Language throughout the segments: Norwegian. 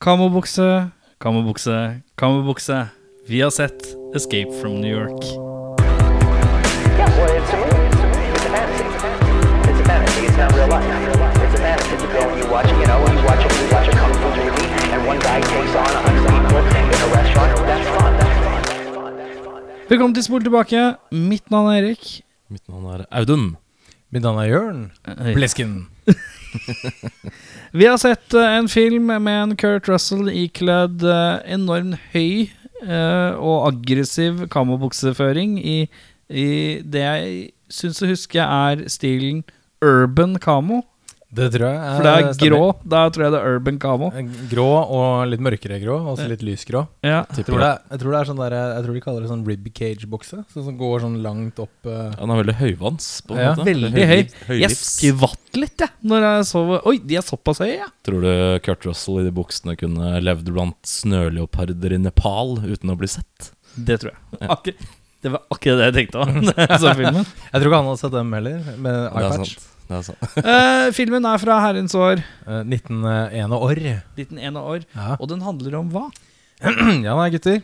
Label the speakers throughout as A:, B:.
A: Kamobukse, kamobukse, kamobukse. Vi har sett Escape from New York.
B: Yeah, well, it's a movie. It's a movie. It's a fantasy. It's a fantasy. It's not real life. It's a fantasy. It's a film you watch. You know, you watch a you watch a kung fu movie, and one guy takes on a hundred people in a restaurant. That's fun. That's fun. That's fun. That's fun.
A: Velkommen til Spol tilbake. Mitt navn er Erik.
C: Mitt navn er Audun. Mitt navn er Jørn. Blesken.
A: Vi har sett eh, en film med en Kurt Russell ikledd eh, enormt høy eh, og aggressiv kamobukseføring i, i det jeg syns å huske er stilen urban kamo.
C: Det tror jeg. er-
A: For det er grå.
C: stemmer.
A: Da tror jeg det er urban kamo.
C: Grå og litt mørkere grå, og så litt lysgrå.
A: Ja.
C: Jeg tror, det, er- jeg tror det er sånn der, jeg tror de kaller det sånn rib cage-bokse. Sånn som går sånn langt opp eh,
D: Han er veldig høyvanns, på en
C: Ja,
D: måte.
A: Veldig høy. Jeg
D: Høylivs.
A: skvatt litt, jeg, når jeg så Oi, de er såpass høye, ja.
D: Tror du Kurt Russell i de buksene kunne levd blant snøleoparder i Nepal uten å bli sett?
A: Det tror jeg. Akkur det var akkurat det jeg tenkte om. da jeg så filmen.
C: Jeg tror ikke han hadde sett dem heller, med
D: det er
C: iPatch.
D: sant. Det er sant.
A: Eh, filmen er fra herrens år
C: Eh, 1901 og år.
A: 1901 år,
C: Ja.
A: og den handler om hva?
C: ja, nei, gutter.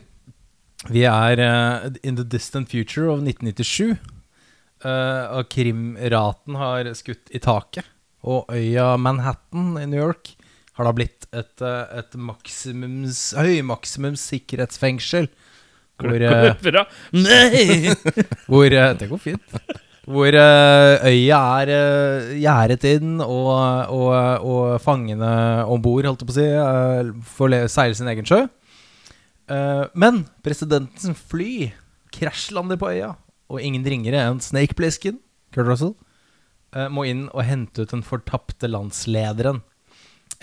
C: Vi er eh, in the distant future of 1997. eh, og krimraten har skutt i taket. Og øya Manhattan i New York har da blitt et, eh, et maksimums, høymaksimums sikkerhetsfengsel. Hvor, eh,
A: Bra. Nei!
C: hvor eh, Det går fint. Hvor eh, øya er uh, gjerdet inn, og, og, og fangene om bord, holdt jeg på å si, eh, får le seile sin egen sjø. Eh, men presidentens fly krasjlander på øya, og ingen ringere enn Snake Plissken, Kurt Russell, eh, må inn og hente ut den fortapte landslederen.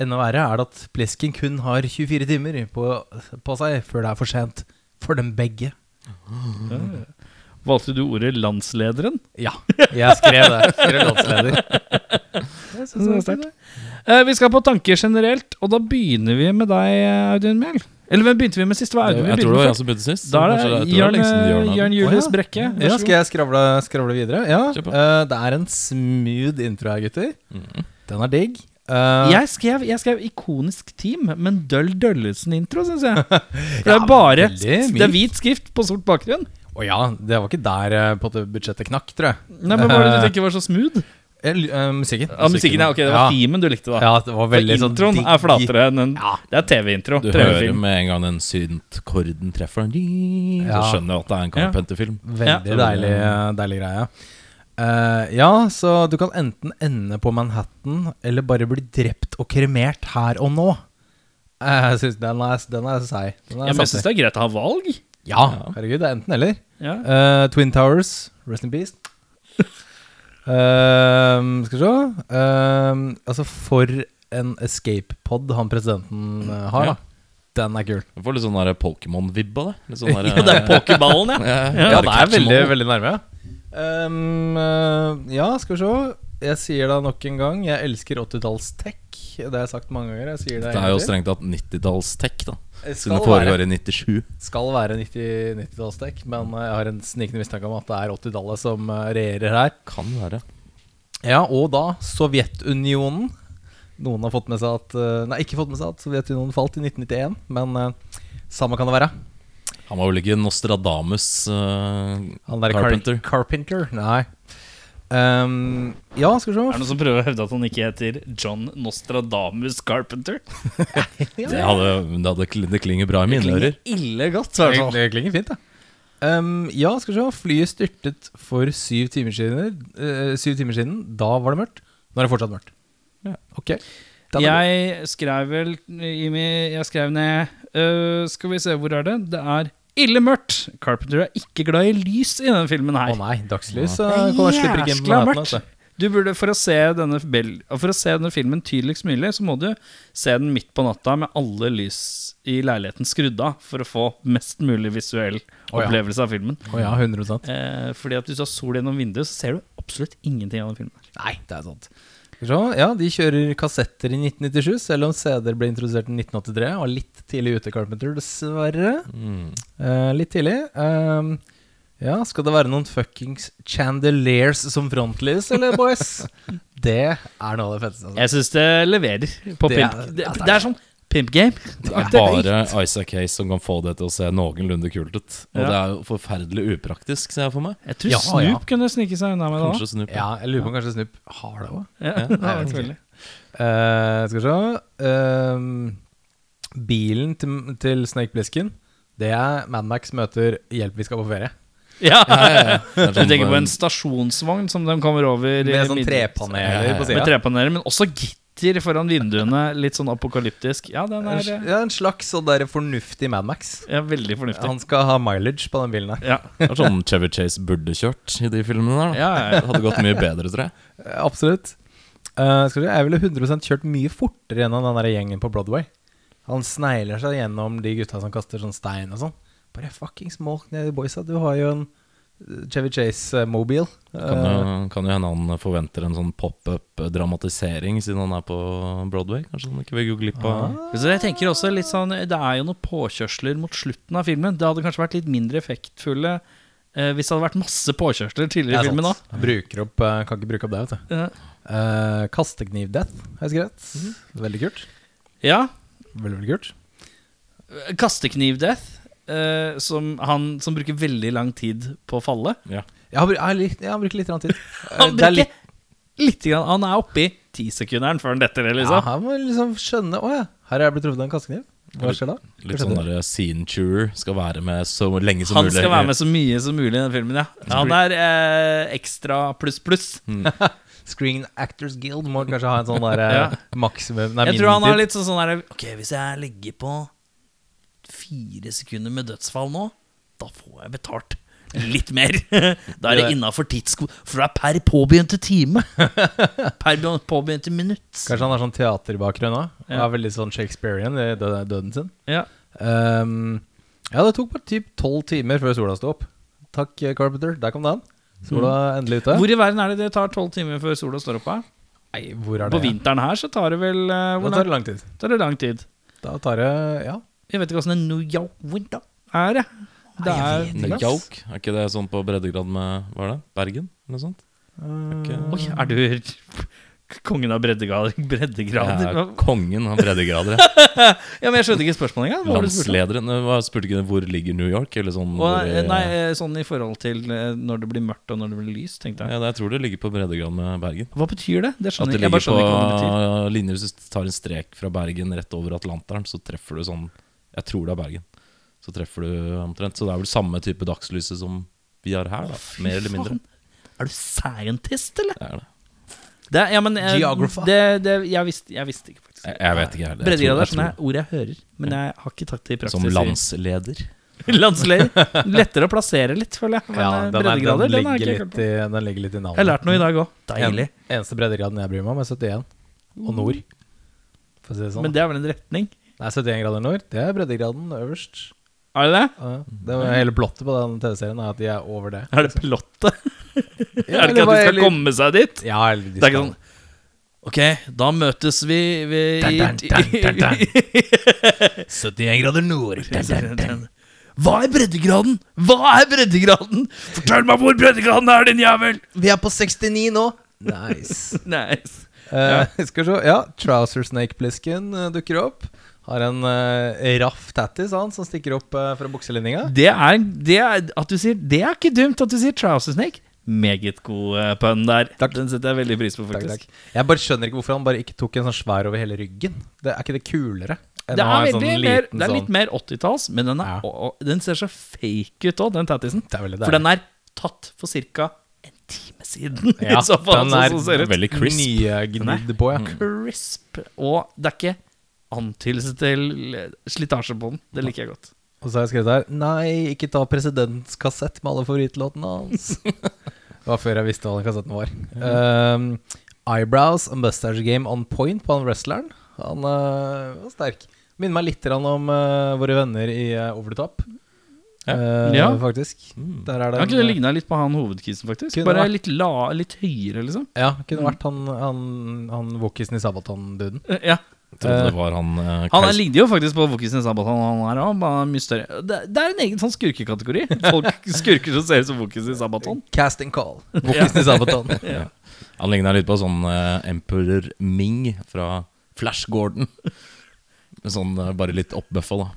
C: Enda verre er det at Plissken kun har 24 timer på, på seg før det er for sent for dem begge.
A: Valgte du ordet 'landslederen'?
C: Ja, jeg skrev det. Skrev landsleder.
A: Eh, vi skal på tanker generelt, og da begynner vi med deg, Audun Mehl. Eller hvem begynte vi med sist? Det var Audun vi
D: Jeg tror
A: begynte med
D: det var jeg
A: først.
D: som begynte sist. så
A: Da er
D: kanskje
A: det
D: jeg tror er lenge siden Jørn
A: Jørn,
D: hadde
A: Jørn
D: den.
A: Julius
C: Å, ja.
A: Brekke. Vær
C: Ja,
A: så
C: skal jeg skravle, skravle videre? Ja,
D: Kjør på.
C: eh, Det er en smooth intro her, gutter.
A: Mm.
C: Den er digg.
A: god.
C: Eh,
A: jeg, skrev, jeg skrev 'ikonisk team', men døll Døllesen-intro, syns jeg. For det er bare
C: veldig
A: Det er
C: mykt.
A: hvit skrift på sort bakgrunn.
C: Å ja, det var ikke der eh, på at budsjettet knakk, tror jeg.
A: Nei, men Hva var det du tenker var så smooth?
C: Eh, l- eh, musikken.
A: Ja, musikken, ja, ok, Det var teamen du likte, da.
C: Ja, det var veldig
A: For
C: sånn
A: introen
C: digg-
A: er flatere enn en
C: Ja.
A: Det er TV-intro.
D: Du hører
A: TV-film.
D: med en gang den synt-korden treffer den, så
C: Ja.
D: skjønner du at det er en Carpenter-film.
C: Veldig
A: Ja.
C: deilig, deilig greie. Eh, ja, så du kan enten ende på Manhattan eller bare bli drept og kremert her og nå. Eh, jeg synes den er, den er seig. Den er
A: Ja, men jeg
C: saftig.
A: syns det er greit å ha valg.
C: Ja, herregud, det er enten eller.
A: Ja.
C: Eh, Twin Towers, Rest in Peace. Ehm, skal vi se Ehm, Altså, for en escape pod han presidenten eh, har,
D: Ja.
C: da. Den er kul.
D: Du får litt sånn der Pokémon-vibb av det. Litt sånn der,
A: Og det er pokerballen, ja.
D: Ja, det er veldig, veldig
C: nærme. Um, eh, ja, skal vi se. Jeg sier det nok en gang. Jeg elsker 80-talls-tech. Det har jeg sagt mange ganger. Jeg sier det,
D: Det er jo
C: en gang til.
D: strengt tatt 90-talls-tech, da.
C: Det
D: Siden det
C: skal
D: foregår i 97.
C: skal være 90 90-tallstech, men eh, jeg har en snikende mistanke om at det er 80-tallet som eh, regjerer her.
D: Kan være.
C: Ja, og da Sovjetunionen. Noen har fått med seg at eh, Nei, ikke fått med seg at Sovjetunionen falt i 1991, men eh, samme kan det være.
D: Han var vel ikke Nostradamus eh,
C: Han der
D: Carpenter?
C: Carpenter. Carpenter? Nei. Ehm, ja, skal vi
A: Er det
C: se.
A: noen som prøver å hevde at han ikke heter John Nostradamus Carpenter?
D: det, hadde, det, hadde, kl- det klinger bra i mine ører.
A: ille godt.
C: Det klinger fint, da. Ehm, ja, skal vi se. Flyet styrtet for syv timer siden. eh, syv timer siden. Da var det mørkt. Nå er det fortsatt mørkt. Ok. Den er god.
A: Jeg skrev vel i mi- Jeg skrev ned øh, Skal vi se, hvor er det? Det er ille mørkt. Carpenter er ikke glad i lys i denne filmen her.
C: Å nei, dagslys
A: Det
C: eh,
A: er
C: kan jeg slipper ikke inn på
A: jæskla
C: natten,
A: mørkt.
C: altså.
A: Du burde, for å, se denne, bel- for å se denne filmen tydeligst mulig, så må du se den midt på natta med alle lys i leiligheten skrudd av, for å få mest mulig visuell
C: Å ja.
A: opplevelse av filmen.
C: Å ja, 100
A: Eh, fordi at hvis du har sol gjennom vinduet, så ser du absolutt ingenting av den filmen.
C: Nei, det er sant. Skal vi se. Ja, de kjører kassetter i 1997, selv om CD-er ble introdusert i 1983. Og litt tidlig ute, Carpenter, dessverre.
D: Mm.
C: Eh, litt tidlig. Ehm, ja, skal det være noen fuckings chandeliers som frontlys, eller, boys? det er noe av det feteste. Altså.
A: Jeg syns det leverer på
C: Det
A: pimp. Det,
C: er- det er
A: det er sånn Pimp game.
D: Det er bare Isaac Hayes som kan få det til å se noenlunde kult ut. Og
A: Ja.
D: det er jo forferdelig upraktisk, ser jeg for meg.
A: Jeg tror
C: Ja,
A: Snoop
C: ja.
A: kunne snike seg unna med det òg.
D: Kanskje Snoop.
C: Ja, jeg lurer på om kanskje Snupp har det òg.
A: Ja,
D: Ja,
A: det
C: jeg
A: var
C: vet
A: veldig.
C: Eh, skal vi se Ehm, Bilen til, til Snake Blisken, det er Madmax møter 'Hjelp, vi skal på ferie'.
A: ja.
D: Det er
A: Du tenker på en
D: sånn,
A: stasjonsvogn som de kommer over i
C: Med sånn
A: midten.
C: trepaneler på
A: Med
C: sida.
A: trepaneler, men også gitter foran vinduene. Litt sånn apokalyptisk. Ja, den er eh,
C: Ja, en slags sånn der fornuftig Madmax.
A: ja, veldig fornuftig.
C: Han skal ha mileage på den bilen her.
A: Ja,
D: det er sånn Chevy Chase burde kjørt i de filmene der. da.
A: ja, ja.
D: Det hadde gått mye bedre, tror jeg.
C: Eh, Absolutt. Eh, skal vi se, jeg ville 100 kjørt mye fortere gjennom den der gjengen på Broadway. Han snegler seg gjennom de gutta som kaster sånn stein og sånn. Bare fuckings mål ned i boysa. Du har jo en eh, Chevy Chase-mobil.
D: Kan jo, kan jo hende han forventer en sånn pop-up-dramatisering siden han er på Broadway. Kanskje han ikke vil gå glipp av
A: Ah. Så jeg tenker også litt sånn Det er jo noen påkjørsler mot slutten av filmen. Det hadde kanskje vært litt mindre effektfulle eh, hvis det hadde vært masse påkjørsler tidligere i filmen òg.
C: Bruker opp, eh, kan ikke bruke opp det, vet du. Eh, Kastekniv-death har jeg skrevet.
A: Mhm.
C: Veldig kult.
A: Ja.
C: Veldig, veldig kult.
A: Kastekniv-death, eh, som han som bruker veldig lang tid på å falle.
D: Ja.
C: Jeg har, bru- jeg har, litt- jeg har brukt litt grann tid. Eh,
A: Han
C: det er
A: bruker
C: litt-
A: litt, grann, han er oppe i tisekunderen før han detter ned,
C: Ja,
A: liksom.
C: her må jeg liksom skjønne Å ja, her har jeg blitt truffet av en kastekniv. Hva skjer da? Hva
D: Litt
C: skjedde?
D: sånn der scene chewer. Skal være med så lenge som
A: han
D: mulig.
A: skal være med så mye som mulig i den filmen, ja. Han er eh, ekstra pluss, pluss.
C: Screen Actors Guild må kanskje ha en sånn der
A: Ja.
C: eh, maksimum Nei,
A: Jeg tror han har
C: minitid.
A: litt sånn, sånn der Ok, hvis jeg legger på fire sekunder med dødsfall nå, da får jeg betalt. Litt mer. Da er det innafor tidsko... For det er per påbegynte time. Per påbegynte minutt.
C: Kanskje han har sånn teaterbakgrunn òg. Og
A: Ja.
C: er veldig sånn Shakespearean i dø- døden sin.
A: Ja.
C: Ehm, ja, det tok bare typ tolv timer før sola sto opp. Takk, eh, Carpenter. Der kom den. Sola er endelig ute.
A: Mm. Hvor i verden er det det tar tolv timer før sola står opp? her?
C: Nei, hvor er det?
A: På vinteren her så tar det vel eh,
C: Da
A: hvor
C: tar
A: lang,
C: det lang tid.
A: tar det lang tid.
C: Da tar det Ja.
A: Jeg vet ikke åssen en New York winter er, jeg. Det er
C: jeg vet
D: Med Jauk. Er ikke det sånn på breddegrad med Hva er det? Bergen? Eller noe sånt? Okay.
A: Oi, er du kongen av breddegrader?
D: Jeg
A: breddegrader?
D: er kongen av breddegrader. jeg.
A: Ja, men jeg skjønte ikke spørsmålet engang. Hva var det du spurte om?
D: Landslederen Nei, hva- Spurte ikke hvor ligger New York? Eller sånn
A: Og,
D: hvor i-
A: eh, nei, eh, sånn i forhold til eh, når det blir mørkt og når det blir lys, tenkte jeg.
D: ja, Jeg tror det ligger på breddegrad med Bergen.
A: Hva betyr det? Det
D: At
A: skjønner jeg.
D: det
A: Jeg bare
D: ligger
A: skjønner ikke hva det betyr.
D: på eh, linjer Hvis du tar en strek fra Bergen rett over Atlanteren, så treffer du sånn Jeg tror det er Bergen. Så treffer du omtrent. Så det er vel samme type dagslyset som vi har her, da.
A: Fy
D: Mer eller mindre.
A: faen. Er du scientist, eller?
D: Det er det.
A: Det, ja, men, eh,
C: Geographer.
A: Det, det, jeg, visste, jeg visste ikke, faktisk.
D: Jeg, jeg vet ikke heller. Jeg
A: Breddegrader
D: tror-
A: er sånn
D: jeg
A: jeg- ord jeg hører, men jeg har ikke tatt det i
D: tror-
A: praksis.
D: Som landsleder.
A: Landsleder. Lettere å plassere litt, føler jeg. Men
C: ja
A: eh,
C: den, er, den,
A: breddegrader, den, har
C: ligger
A: jeg ikke
C: litt
A: hørt på.
C: i, den ligger litt i navnet.
A: Jeg har lært noe i dag òg.
C: En, eneste breddegraden jeg bryr meg om, er 71. Og nord. For å si Mm. det sånn.
A: Men det er vel en retning?
C: Nei, 71 grader nord, det er breddegraden øverst.
A: Er det det?
C: Ja, Det var Hele blottet på den TV-serien er at de Mm. er over det.
A: Er det plottet?
C: Ja,
A: er det ikke at
C: eller
A: de skal
C: bare-
A: komme seg dit?
C: Ja, eller de
A: Det er ikke
C: skal-
A: sånn Ok, da møtes vi, vi i-
C: Dun, dun, dun, dun, 71 grader nord.
A: Hva er breddegraden? Hva er breddegraden? Fortell meg hvor breddegraden er, din jævel!
C: Vi er på 69 nå. Nice.
A: Nice.
C: Eh, skal vi se. Ja, Trouser Snake-blisken eh, dukker opp. Har en eh, raff tattis han, som stikker opp eh, fra bukselinninga.
A: Det er, det er at du sier Det er ikke dumt at du sier trouser snake. Meget god eh, pønn der.
C: Takk.
A: Den setter jeg veldig pris på,
C: Takk,
A: faktisk.
C: takk. Jeg bare skjønner ikke hvorfor han bare ikke tok en sånn svær over hele ryggen. Det Er ikke det kulere? enn
A: Det
C: å ha
A: er, veldig
C: en sånn
A: mer,
C: liten
A: det er litt
C: sånn-
A: mer 80-talls, men den, er,
C: Ja.
A: og, og, den ser så fake ut òg, den tattisen.
C: Det er veldig
A: For den er tatt for ca. en time siden.
C: Ja,
A: i så fall,
C: den
A: sånn
C: er Mm.
A: som ser ut.
D: veldig crisp.
C: Nyegnidd på, ja.
A: crisp. Og det er ikke antydelse til slitasje på den. Det liker jeg godt.
C: Og så har jeg skrevet her Nei, ikke ta presidentskassett med alle favorittlåtene hans. det var før jeg visste hva den kassetten var. Um, eyebrows and mustache game on point på han wrestleren. Han eh, var sterk. Minner meg litt grann om eh, våre venner i eh, Over the Top.
D: Ja.
C: Eh,
A: Ja.
C: Faktisk. Der er det
A: Han kunne
C: en- eh,
A: ligna litt på han hovedkisen, faktisk.
C: Kunne
A: Bare
C: vært.
A: litt, la, litt høyere, liksom.
C: Ja, kunne vært han, han, han wokisen i Sabaton-duden.
A: Ja.
D: Jeg trodde det var han eh,
A: Han
D: Kais-
A: er, ligner jo faktisk på Vokisen Sabaton. Han er også, bare mye større. Det, det er en egen sånn skurkekategori. Folk Skurker som ser ut som Vokisen Sabaton.
C: Casting call. Wokisen i Sabaton.
D: Han ligna litt på sånn eh, Emperor Ming fra Flash Gordon. Men Sånn eh, bare litt oppbøffa, da.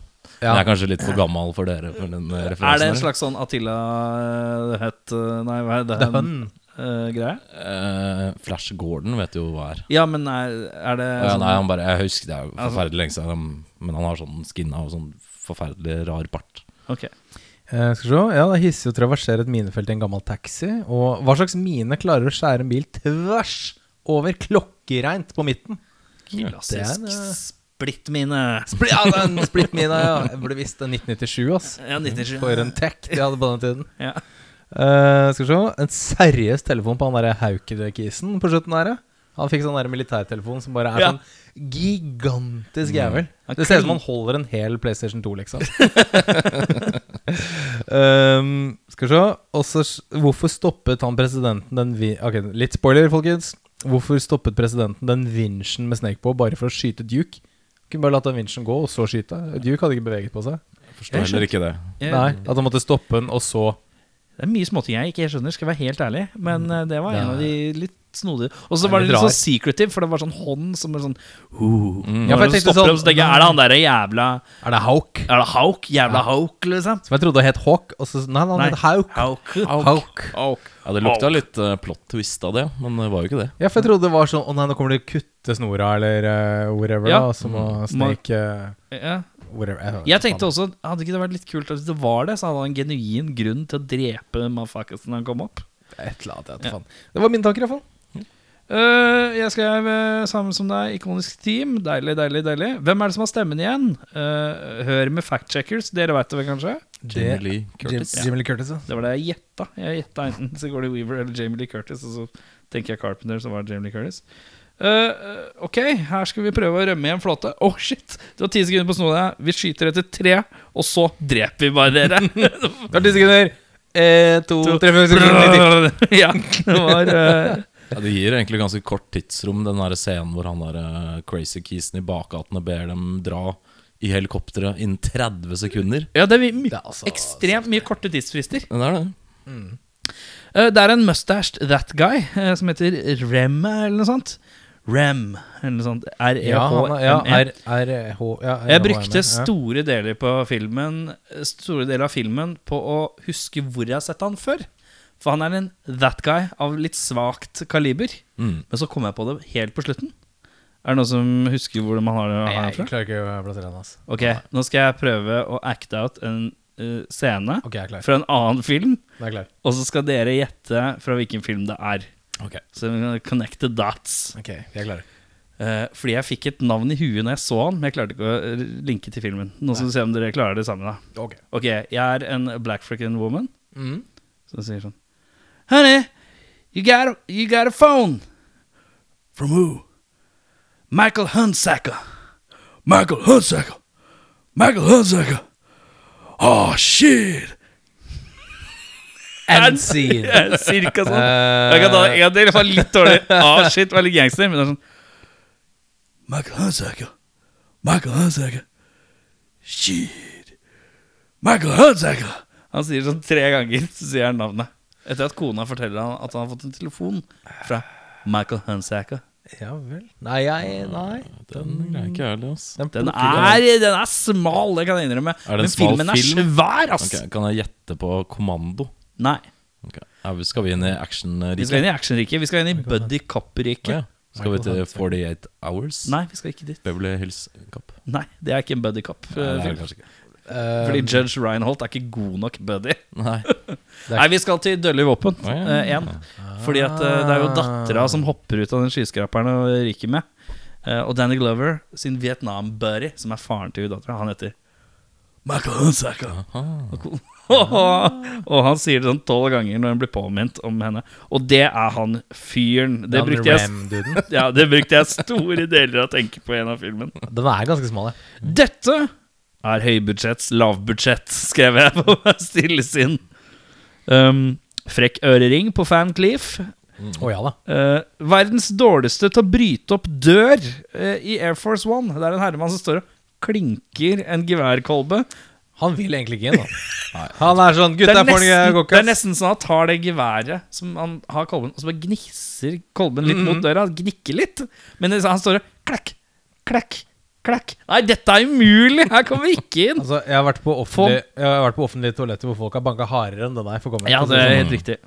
C: Ja.
D: Jeg er kanskje litt for gammel for dere for den eh,
A: Er det
D: referansen.
A: en slags sånn Attila eh, The Hutt eh, Nei, hva er det?
C: The Hun.
A: eh, greie?
D: Eh, Flash Gordon vet jo hva er.
A: Ja, men er, er det
D: Ja,
A: sånn- Altså-
D: nei, han bare, jeg husker det er jo forferdelig lenge siden, han- men han har sånn skinna og sånn forferdelig rar bart.
A: Ok.
C: Eh, skal vi se. Ja, det er hissig å traversere et minefelt i en gammel taxi. Og hva slags mine klarer å skjære en bil tvers over klokkereint på midten?
A: Klassisk
C: det er, eh,
A: splittmine.
C: Spl ja, det er en splittmine, ja. Jeg burde visst det. 1997, ass.
A: Ja, 97.
C: For en tech de hadde på den tiden.
A: Ja.
C: Eh, skal vi se. En seriøs telefon på han derre Haukedøkisen på slutten her, ja. Han fikk sånn der militærtelefon som bare er
A: Ja. Mm.
C: sånn gigantisk jævel.
A: Han
C: Det ser ut
A: klin-
C: som han holder en hel PlayStation 2, liksom. Ehm, skal vi se. Og så s- Hvorfor stoppet han presidenten den vi Ok, litt spoiler, folkens. Hvorfor stoppet presidenten den vinsjen med Snake på bare for å skyte Duke? Kunne bare latt den vinsjen gå, og så skyte. Duke hadde ikke beveget på seg.
D: Jeg forstår heller ikke det.
A: Jeg-
C: Nei, At han måtte stoppe den, og så
A: Det er mye småting jeg ikke helt skjønner, skal jeg være helt ærlig. Men eh, det var
C: Det
A: en av
C: er-
A: de litt snodige. Og så
C: Det er
A: var det
C: litt
A: litt
C: rar.
A: sånn secretive, for det var sånn hånd som er sånn uh.
C: Ja, for jeg
A: Når du
C: tenkte
A: stopper
C: sånn-
A: opp, så tenker jeg, Er det han derre jævla
C: Er det Hauk?
A: Er det Hauk? Jævla Hauk, liksom?
C: Som jeg trodde het Hawk, og så Nei, han
A: Nei.
C: het Hauk.
A: Hauk.
C: Hauk.
D: Ja, det lukta litt eh, plot twist av det, men det var jo ikke det.
C: Ja, for jeg trodde det var sånn Å nei, nå kommer det kutte snora, eller eh, whatever,
A: Ja.
C: da. og Så må Snake eh,
A: Ja.
C: Whatever. vet
A: Jeg
C: ikke
A: tenkte også, hadde ikke det vært litt kult hvis det var det, så hadde han en genuin grunn til å drepe motherfuckers når han kom opp.
C: faen. Et eller annet, jeg vet ikke faen. Det var mine tanker, iallfall.
A: Eh, jeg skrev eh, samme som deg, ikonisk team. Deilig, deilig, deilig. Hvem er det som har stemmen igjen? Eh, hør med factcheckers, dere veit det vel kanskje?
D: Jamie Lee Curtis.
C: Jim, Jimmy Lee Curtis, ja.
A: Det var det jeg gjetta. Jeg gjetta enten Sigourney Weaver eller Jamie Lee Curtis, og så tenker jeg Carpenter, så var det Jamie Lee Curtis. Eh, eh, ok, her skal vi prøve å rømme i en flåte. Å, shit! Du har ti sekunder på å sno deg. Vi skyter etter tre, og så dreper vi bare dere.
C: Det var ti sekunder. Eh, to, tre, fem sekunder.
A: ja, det var eh,
D: Ja, det gir egentlig ganske kort tidsrom, den der scenen hvor han der eh, crazy kisen i bakgatene ber dem dra i helikopteret innen 30 sekunder.
A: Ja, det er my
C: Det er altså-
A: ekstremt mye korte tidsfrister.
D: Det er det.
A: Eh, det er en mustached that guy eh, som heter Rem, eller noe sånt. Rem, eller noe sånt. E
C: Ja, han
A: R-E-H-M-E.
C: er- ja, R, R, H, ja, R,
A: Jeg
C: H, M,
A: brukte
C: ja.
A: store deler på filmen Store deler av filmen på å huske hvor jeg har sett han før. For han er en that guy av litt svakt kaliber.
D: Mm.
A: Men så kom jeg på det helt på slutten. Er det noen som husker hvor man har det
C: Nei,
A: har det
C: jeg
A: fra?
C: klarer ikke å plassere han, altså.
A: Ok, nå skal jeg prøve å acte out en eh, scene
C: Ok, jeg er klar.
A: fra en annen film.
C: Jeg er klar.
A: Og så skal dere gjette fra hvilken film det er.
D: Ok.
A: Så vi kan connect the dots.
C: Ok, jeg er klar.
A: Eh, fordi jeg fikk et navn i huet når jeg så han, men jeg klarte ikke å eh, linke til filmen. Nå skal vi se om dere klarer det sammen, da.
C: Ok.
A: Ok, jeg er en black freaking woman
C: Mm.
A: Som sier sånn Honey, you got a, you got a phone From who? Michael Hunsaker Michael Hunsaker Michael Hunsaker Oh shit
C: And scene.
A: Cirka sånn
C: Eh,
A: Jeg kan ta en del, det var litt dårlig Ah shit, det var litt gangster Men det er sånn Michael Hunsaker Michael Hunsaker Shit Michael Hunsaker Han sier sånn tre ganger, så sier han navnet. Etter at kona forteller han at han har fått en telefon fra Michael Hunsaker.
C: Ja vel. Nei, jeg Nei.
D: Den greier ikke jeg heller, ass.
A: Den er, den er smal, det kan jeg innrømme.
D: Er det en
A: Men
D: smal
A: filmen er
D: film?
A: svær, ass!
D: Ok, kan jeg gjette på kommando?
A: Nei.
D: Ok. Ja, vi skal vi inn i
A: Vi skal
D: action-riket?
A: inn i actionriket. Vi skal inn i buddy cop-riket.
D: Ja. Skal vi til 48 Hours?
A: Nei, vi skal ikke dit.
D: Beverly Hills Cop?
A: Nei, Det er ikke en buddy
D: Nei, det er det
A: cop-film.
D: kanskje ikke.
A: Fordi Judge Reinholt er ikke god nok buddy.
D: Nei.
C: er-
A: Nei, vi skal til Dølle i våpen
D: Å, ja.
A: eh, en. Fordi at eh, det er jo dattera som hopper ut av den skyskraperen og ryker med. Eh, og Danny Glover sin Vietnam-buddy, som er faren til dattera, han heter Michael Hunsaker. Og ko- og han sier det sånn tolv ganger når han blir påminnet om henne. Og det er han fyren. Det brukte jeg,
C: Ram-duden.
A: ja, det brukte jeg store deler av å tenke på i en av filmen.
C: Den er ganske smal, ja.
A: Dette er høybudsjetts lavbudsjett, skrev jeg på meg stillesinn. Um, frekk ørering på Fan Cleef.
C: Å ja da.
A: Eh, verdens dårligste til å bryte opp dør eh, i Air Force One. Det er en herremann som står og klinker en geværkolbe.
C: Han vil egentlig ikke inn, da. Han er sånn
A: Det
C: Gutta,
A: er,
C: jeg får den jeg
A: nesten, det
C: går ikke,
A: er
C: ass.
A: nesten sånn at han tar det geværet som han har i kolben, og så bare
C: Mm-hmm.
A: gnisser kolben litt mot døra. Han Gnikker litt. Men det- han står og klakk, klakk, klakk. Nei, dette er umulig! Her kommer vi ikke inn!
C: Altså, jeg har vært på offentlig, jeg har vært på offentlige toaletter hvor folk har banka hardere enn den her. For å sånn. komme
A: Ja, det er helt riktig.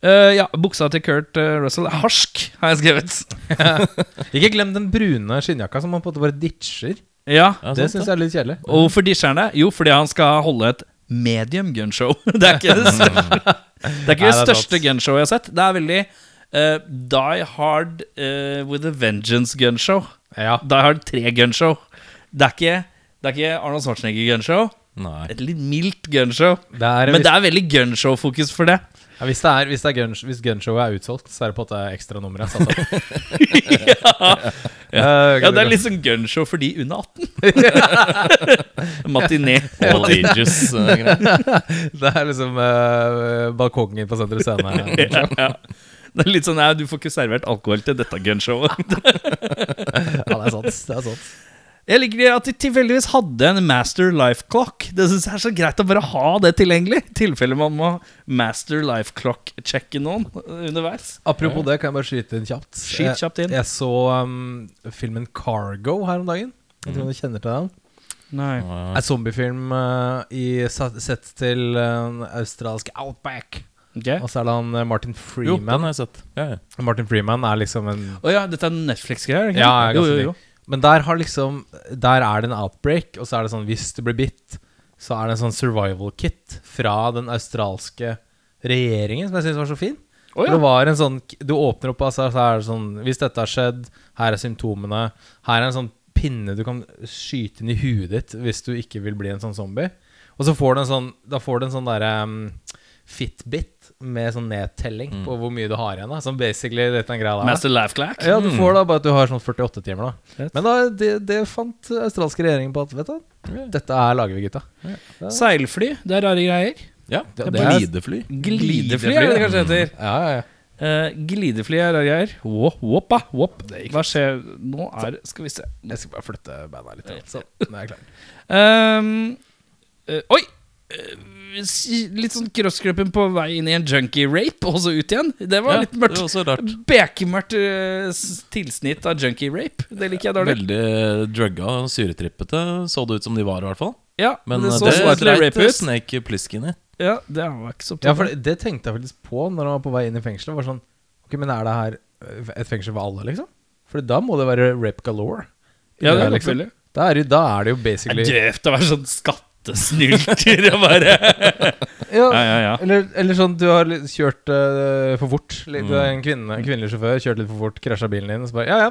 A: Eh, ja, buksa til Kurt eh, Russell er harsk, har jeg skrevet.
C: Ikke glem den brune skinnjakka som man på en måte bare ditcher.
A: Ja,
D: Ja,
C: Det
D: sant
C: syns jeg er litt kjedelig.
A: Og hvorfor disjer han det? Jo, fordi han skal holde et medium gunshow. Det er ikke det største, det er ikke
C: Nei,
A: det
C: det er
A: største gunshowet jeg har sett. Det er veldig eh, Die Hard eh, with a Vengeance gunshow.
C: Ja.
A: Die Hard 3 gunshow. Det er ikke, det er ikke Arnold Schwarzenegger gunshow.
D: Nei.
A: Et litt mildt gunshow.
C: Det er,
A: Men
C: hvis,
A: det er veldig gunshow-fokus for det.
C: ja, hvis, det er, hvis, det er gun, hvis gunshowet er utsolgt, så er det på en måte ekstranummeret.
A: Ja, det er litt sånn gunshow for de under 18. Matiné.
D: All ages. eh, greier.
C: Det er liksom eh, balkongen på Sentrum Scene.
A: Ja, ja. Det er litt sånn nei, du får ikke servert alkohol til dette gunshowet.
C: Ja, det er sant. Det er sant.
A: Jeg liker at de tilfeldigvis hadde en master life clock. Det synes jeg er så greit å bare ha det tilgjengelig. I tilfelle man må master life clock-sjekke noen eh, underveis.
C: Apropos det, kan jeg bare skyte inn kjapt?
A: Skyt kjapt inn.
C: Jeg, jeg så um, filmen Cargo her om dagen. Jeg tror du
A: Mhm.
C: kjenner til den.
A: Nei.
C: En zombiefilm eh, i, sa- sett til en australsk outback. Og så er det han eh,
D: Jo,
C: Martin
D: den
C: Freeman.
D: har jeg sett. Ja, ja.
C: Martin Freeman er liksom en
A: Å ja, dette er Netflix-greier? ikke
C: Ja,
A: sant?
C: jeg er ganske lik. Men der har liksom Der er det en outbreak, og så er det sånn hvis du blir bitt, så er det en sånn survival kit fra den australske regjeringen, som jeg syns var så fin.
A: Å
C: Det
A: ja.
C: var en sånn Du åpner opp, altså, så er det sånn Hvis dette har skjedd, her er symptomene. Her er en sånn pinne du kan skyte inn i huet ditt hvis du ikke vil bli en sånn zombie. Og så får du en sånn Da får du en sånn derre um, Fitbit med sånn nedtelling på hvor mye du har igjen. da Som basically litt den greia der. da.
A: Master life clock?
C: Ja, du får da bare at du har sånn 48 timer, da.
A: Fett.
C: Men da, det, det fant australske regjeringen på at Vet du, dette er lager vi, gutta.
A: Seilfly, det er rare greier.
D: ja det,
C: Det
D: det
C: er-
D: er glidefly.
A: Glidefly er det det kanskje heter.
C: Ja, ja, ja.
A: Eh, glidefly er rare greier. Wop, wop, ah, wop. Hva skjer nå? Er, skal vi se.
C: Jeg skal bare flytte beina litt. ja. Sånn, nå er jeg klar.
A: Ehm, eh, oi! Eh, s- litt sånn crossklipping på vei inn i en junkie rape, og så ut igjen. Det var
D: Ja,
A: litt mørkt.
D: Det var også rart.
A: Bekemørkt eh, s- tilsnitt av junkie rape. Det liker jeg dårlig.
D: Veldig drugga og syretrippete så det ut som de var, i hvert fall.
A: Ja,
D: Men
A: det
D: eh,
A: så
D: det
A: slightly
D: dreit
A: rape ut.
D: Snake Plissken i.
A: Ja, det var ikke så
C: Ja, for det, det tenkte jeg faktisk på når han var på vei inn i fengselet. Var sånn, ok, Men er det her eh, et fengsel for alle, liksom? For da må det være rape galore.
A: Ja, det er
C: her,
A: nok
C: liksom.
A: veldig.
C: da, er, det- da er det jo
A: Det
C: basically
A: er døvt å være sånn skattesnylter og bare Ja, ja, ja.
C: Eller, eller sånn, du har litt kjørt eh, for fort.
A: Mm.
C: Litt- Du er en, kvinne, en kvinnelig sjåfør, kjørt litt for fort, krasja bilen din, og så bare Ja, ja.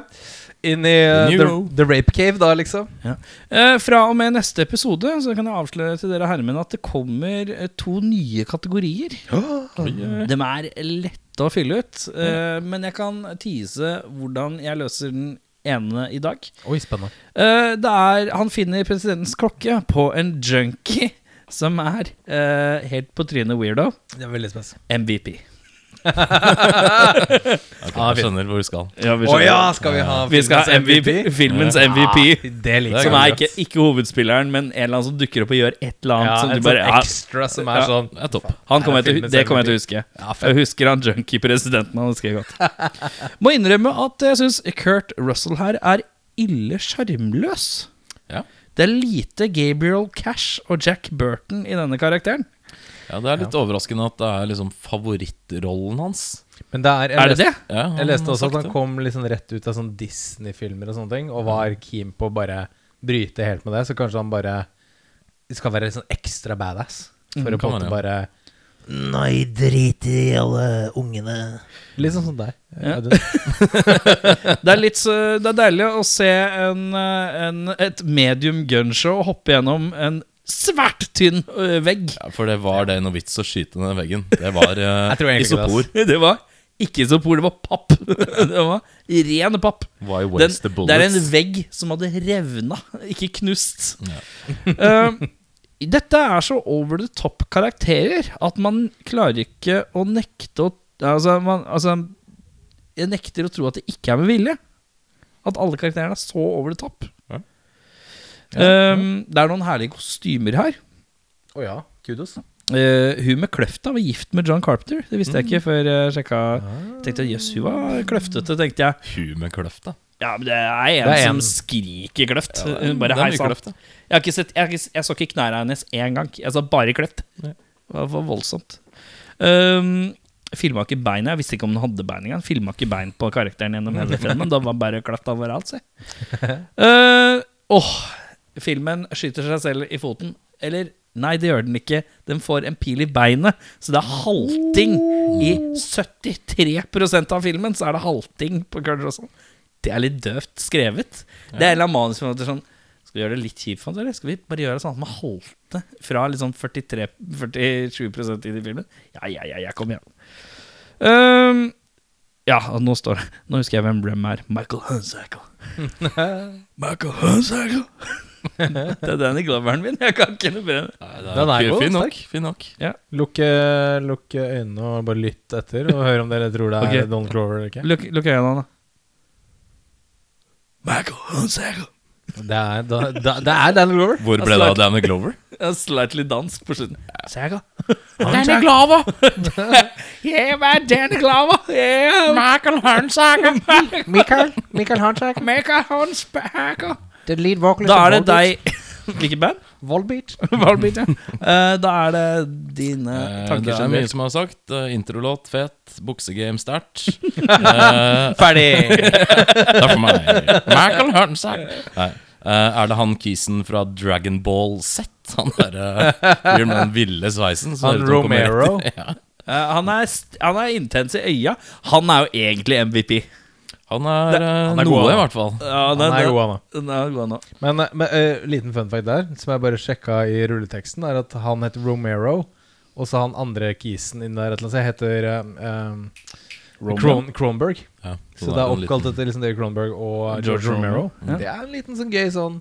C: Inn i eh,
D: Inn i
C: the,
D: row.
C: the rape cave, da, liksom.
A: Eh, Fra og med neste episode så kan jeg avsløre til dere herremenn at det kommer eh, to nye kategorier. De er lette å fylle ut, eh, men jeg kan tease hvordan jeg løser den ene i dag.
C: Oi, spennende.
A: Eh, Det er Han finner presidentens klokke på en junkie som er eh, helt på trynet weirdo.
C: Det er veldig spennende.
A: MVP.
D: Ok,
C: Ah,
D: jeg
C: fint.
D: skjønner hvor du skal.
A: vi,
C: Å ja, skal vi ha
A: vi skal ha
C: filmens
A: MVP. Filmens MVP.
C: Ah, Det liker jeg
A: Som er
C: godt.
A: ikke, ikke hovedspilleren, men en eller annen som dukker opp og gjør et eller annet.
C: ja,
A: som
C: En
A: du
C: sånn
A: bare, ja,
C: ekstra som er
A: Ja.
C: sånn
D: Det er topp.
A: Han kommer
C: Her er
A: jeg til,
C: filmens
A: det kommer jeg til å
C: MVP.
A: huske.
C: Ja, fett.
A: Jeg husker han junkie-presidenten. Han husker jeg godt Må innrømme at jeg syns Kurt Russell her er ille sjarmløs.
D: Ja.
A: Det er lite Gabriel Cash og Jack Burton i denne karakteren.
D: Ja, Det er litt overraskende at det er liksom favorittrollen hans.
C: Men det er, jeg
A: Er det
C: leste-
A: det?
D: Ja, han
C: Jeg leste
D: har
C: også
D: sagt
C: at han
D: det.
C: kom liksom rett ut av sånn Disney-filmer og sånne ting, og var keen på å bare bryte helt med det. Så kanskje han bare skal være sånn ekstra badass. For å på en
D: kan være.
C: måte bare
E: Nei, drit i alle ungene.
C: Litt sånn som deg.
A: Ja.
C: Audun.
A: Det er, litt, så- det er deilig å se en, eh, en, et medium gunshow hoppe gjennom en svært tynn eh, vegg.
D: Ja, For det var det noe vits å skyte ned veggen. Det var
C: Jeg tror
D: uh,
C: egentlig
D: isopor.
C: det,
A: Det var ikke isopor, det var papp. Det var ren papp.
D: Why
A: Den,
D: waste the
A: det er
D: bullets?
A: en vegg som hadde revna, ikke knust. Eh, dette er så over the top karakterer at man klarer ikke å nekte å altså, man, altså, jeg nekter å tro at det ikke er med vilje. At alle karakterene er så over the top.
D: Ja.
A: Eh, det er noen herlige kostymer her.
C: Å ja, kudos.
A: Eh, hun med kløfta var gift med John Carpenter.
D: Mm. Ah.
A: Det visste jeg ikke før jeg sjekka. Tenkte jeg, Jøss, hun var kløftete, tenkte jeg.
D: Hun med kløft, da.
A: Ja, men det er en,
C: Det er en.
A: som skriker kløft.
D: det er-
A: Hun bare
D: det er mye
A: hei sann.
D: kløft, ja.
A: Jeg har ikke sett Jeg, har ikke- jeg så ikke knærne hennes én gang. Jeg så bare kløft. Det var for voldsomt. Um, Filma ikke beina. Jeg visste ikke om hun hadde bein engang. Filma ikke bein på karakteren gjennom hele filmen. Da var bare kløft overalt, se. Uh, åh, filmen skyter seg selv i foten. Eller nei, det gjør den ikke. Den får en pil i beinet, så det er halting. I
D: Oh.
A: 73 av filmen så er det halting på Kurt Russell. Det er litt døvt skrevet. Det er en eller annen manusforfatter sånn Skal vi gjøre det litt kjipt for oss, eller skal vi bare gjøre det sånn at man halte fra liksom 43 47 inn i filmen? Ja, ja, ja, ja, kom igjen. Ehm, ja, og nå står det Nå husker jeg hvem Rem er. Michael Hunsackle. Michael Hunsackle. det er den i gloveren min. Jeg kan ikke noe bedre.
D: Nei,
C: Den er
D: fin-
C: god,
D: Fin nok.
C: sterk.
D: Fin nok.
C: Lukke, lukke øynene og bare lytt etter og høre om dere tror det er
A: Ok.
C: Don Clover eller ikke.
A: Lukk lukk øynene, da. Michael Hunsackle.
C: Det er, da, da, det er Dan Glover.
D: Hvor ble det av Danny Glover?
A: Ja, Slightly dansk på slutten. Saga.
F: Danny
A: Glover! yeah, man, Danny Glover! Yeah! Michael Hornsaker!
F: Michael, Michael Hunchak,
A: Michael Hornsaker!
F: the lead vocalist
A: Da er det
F: of Volbeat.
A: deg Hvilket band?
F: Volbeat.
A: Valbit, ja. Eh, da er det dine
D: Eh,
A: tanker
D: det er mye
A: generelt.
D: som er sagt. Eh, Introlåt fet, buksegame sterkt. Eh,
C: Ferdig!
D: det er for meg. Michael Hernsack. Nei. Eh, er det han kisen fra Dragon Ball Z? Han derre uh, med den ville sveisen? som
C: Han
D: hører ut som kommer rett-
C: Romero.
A: Eh, han, er, st- han er intens i øya. Han er jo egentlig MVP.
D: Han er,
A: Det-
D: eh,
A: han er
D: noe,
A: god,
D: i
A: han.
D: hvert fall.
A: Ja,
C: Han er god, han da.
A: Den er god nå.
C: Men, eh, men eh, liten fun fact der, som jeg bare sjekka i rulleteksten, er at han heter Romero. Og så han andre kisen inn der, et eller annet, så jeg heter eh, eh, Cron Cronberg.
D: Ja,
C: Så det er
D: en
C: oppkalt
D: liten-
C: etter liksom David Cronberg og George,
D: George
C: Romero.
D: Romero.
A: Ja.
C: Det er en liten sånn gøy sånn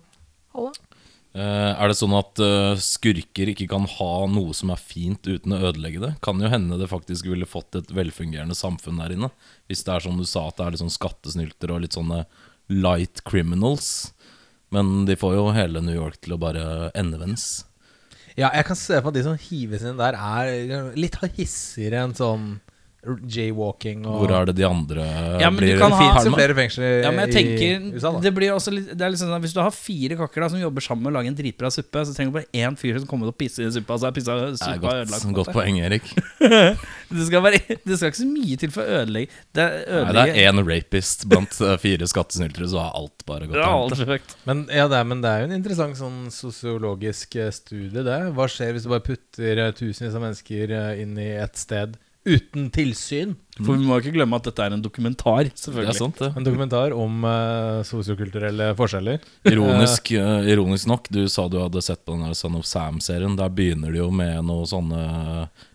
D: Eh, Er det sånn at eh, skurker ikke kan ha noe som er fint uten å ødelegge det? Kan jo hende det faktisk ville fått et velfungerende samfunn der inne. Hvis det er som du sa, at det er litt sånn skattesnylter og litt sånne light criminals. Men de får jo hele New York til å bare endevendes.
C: Ja, jeg kan se for meg at de som hives inn der, er litt hissigere enn sånn jaywalking og
D: Hvor er det de andre
A: Ja, men du
D: blir
A: kan ha-
C: Fins jo
D: pælma?
C: flere fengsler
A: Ja, men jeg
C: i
A: tenker
C: USA, da.
A: Det blir også litt Det er liksom sånn at Hvis du har fire kakker da som jobber sammen og lager en dritbra suppe, så trenger du bare én fyr som kommer og pisser i suppa, så er pissa
D: Det
A: suppa
D: er godt,
A: ødelagt. på en
D: godt
A: måte.
D: poeng, Erik.
A: Det skal, være, det skal ikke så mye til for å ødelegge Det er
D: Nei, det
A: ødelegge
D: er én rapist blant eh, fire skattesnyltere, så er alt bare godt.
A: Det er
D: å
A: alt
D: hente.
A: perfekt.
C: Men, ja, det er, men det er jo en interessant sånn sosiologisk eh, studie, det. Hva skjer hvis du bare putter eh, tusenvis av mennesker eh, inn i et sted uten tilsyn?
A: For vi må ikke glemme at dette er en dokumentar,
D: Det
A: selvfølgelig.
D: er sant, det.
C: En dokumentar om eh, sosiokulturelle forskjeller.
D: Ironisk, eh, ironisk nok, du sa du hadde sett på den der Son of Sam-serien. Der begynner det jo med noen sånne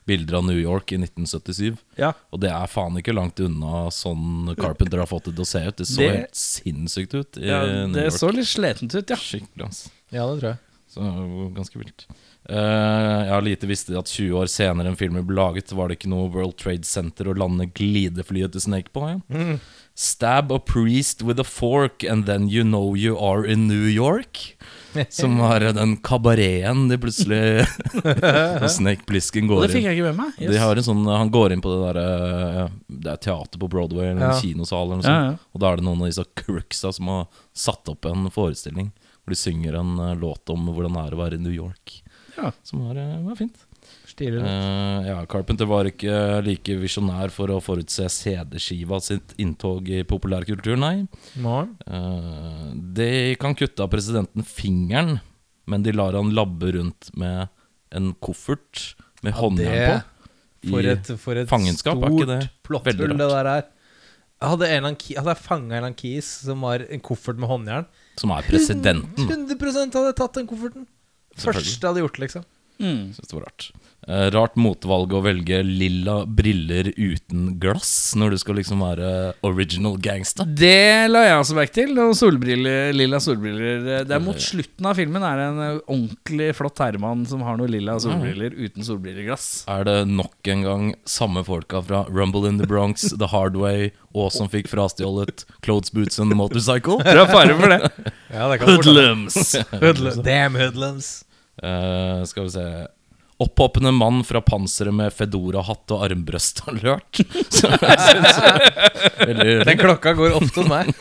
D: bilder av New York i 1977.
A: Ja.
D: Og det er faen ikke langt unna sånn Carpenter har fått det til å se ut. Det så
A: Det-
D: helt sinnssykt ut i
A: Ja,
D: Eh, New
A: det
D: York.
A: så litt sletent ut, ja.
D: Skikkelig, ass.
C: Ja, det tror jeg.
D: Så det er jo ganske vilt. Eh, jeg har lite visst at 20 år senere enn filmen ble laget, var det ikke noe World Trade Center å lande glideflyet til Snake på. Ja.
A: Mm.
D: Stab a priest with a fork, and then you know you are in New York. Som var den kabareten de plutselig Når Snake Plissken
A: Og
D: går
A: det fikk
D: inn.
A: jeg ikke med meg.
D: De har en sånn, han går inn på det der eh, Det er teater på Broadway eller
C: Ja.
D: en kinosal, eller noe
A: Ja, ja.
D: sånt. og da er det noen av disse crooksa som har satt opp en forestilling hvor de synger en eh, låt om hvordan det er å være i New York.
A: Ja.
D: Som var, eh, var fint.
C: Stilig.
D: Eh, ja, Carpenter var ikke eh, like visjonær for å forutse CD-skiva sitt inntog i populærkultur, nei.
C: Morgen.
D: Eh, de kan kutte av presidenten fingeren, men de lar han labbe rundt med en koffert med håndjern på.
C: For
D: i-
C: et, for et
D: fangenskap, er ikke det
C: stort
D: veldig
C: plotthull det
D: rart?
C: der er. Hadde, en eller annen ki- hadde jeg fanga en eller annen kis som var en koffert med håndjern
D: Som er presidenten.
C: 100 hadde jeg tatt den kofferten.
D: Selvfølgelig.
C: Første jeg hadde gjort, liksom.
A: Mm.
D: Synes det var rart. Eh, rart motvalg å velge lilla briller uten glass når du skal liksom være original gangster.
A: Det la jeg også merke til. Og solbriller, lilla solbriller. Det er mot slutten av filmen er det en eh, ordentlig flott herremann som har noen lilla solbriller uten solbrilleglass.
D: Er det nok en gang samme folka fra Rumble in the Bronx, The Hard Way, og som fikk frastjålet Clothes Boots and Motorcycle?
A: Det er fare for det.
C: Ja, det
A: Hoodlums.
C: Hoodlums. Damn hoodlums.
D: Eh, skal vi se Opphoppende mann fra panseret med fedorahatt og armbrøst og lørt. Så jeg synes, veldig,
C: Den klokka går ofte hos meg.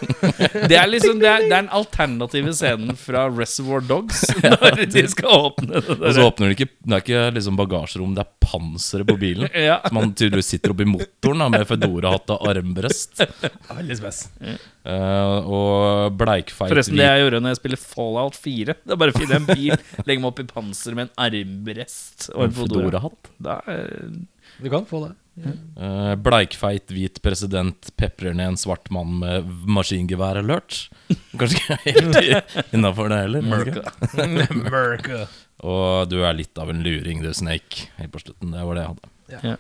A: Det er liksom Det er, det er den alternative scenen fra Reservoir Dogs når de skal åpne det
D: og
A: der.
D: så åpner det ikke Det er ikke liksom bagasjerom, det er panseret på bilen.
A: Ja.
D: Som han tydeligvis sitter oppi motoren da, med fedorahatt og armbrøst.
C: Veldig spes.
D: Eh, og bleikfeit
A: Forresten, det
D: hvit-
A: jeg gjorde når jeg spiller Fallout 4 Det er bare å finne en bil, legge meg opp i panser med en armbrest og en fodora.
D: fedorahatt.
A: Da er-
C: Du kan få det.
D: Eh, bleikfeit hvit president peprer ned en svart mann med maskingevær og lurt. Kanskje ikke helt innafor det heller. men ikke.
C: America.
D: Og du er litt av en luring, du, Snake. Helt på slutten. Det var det jeg hadde.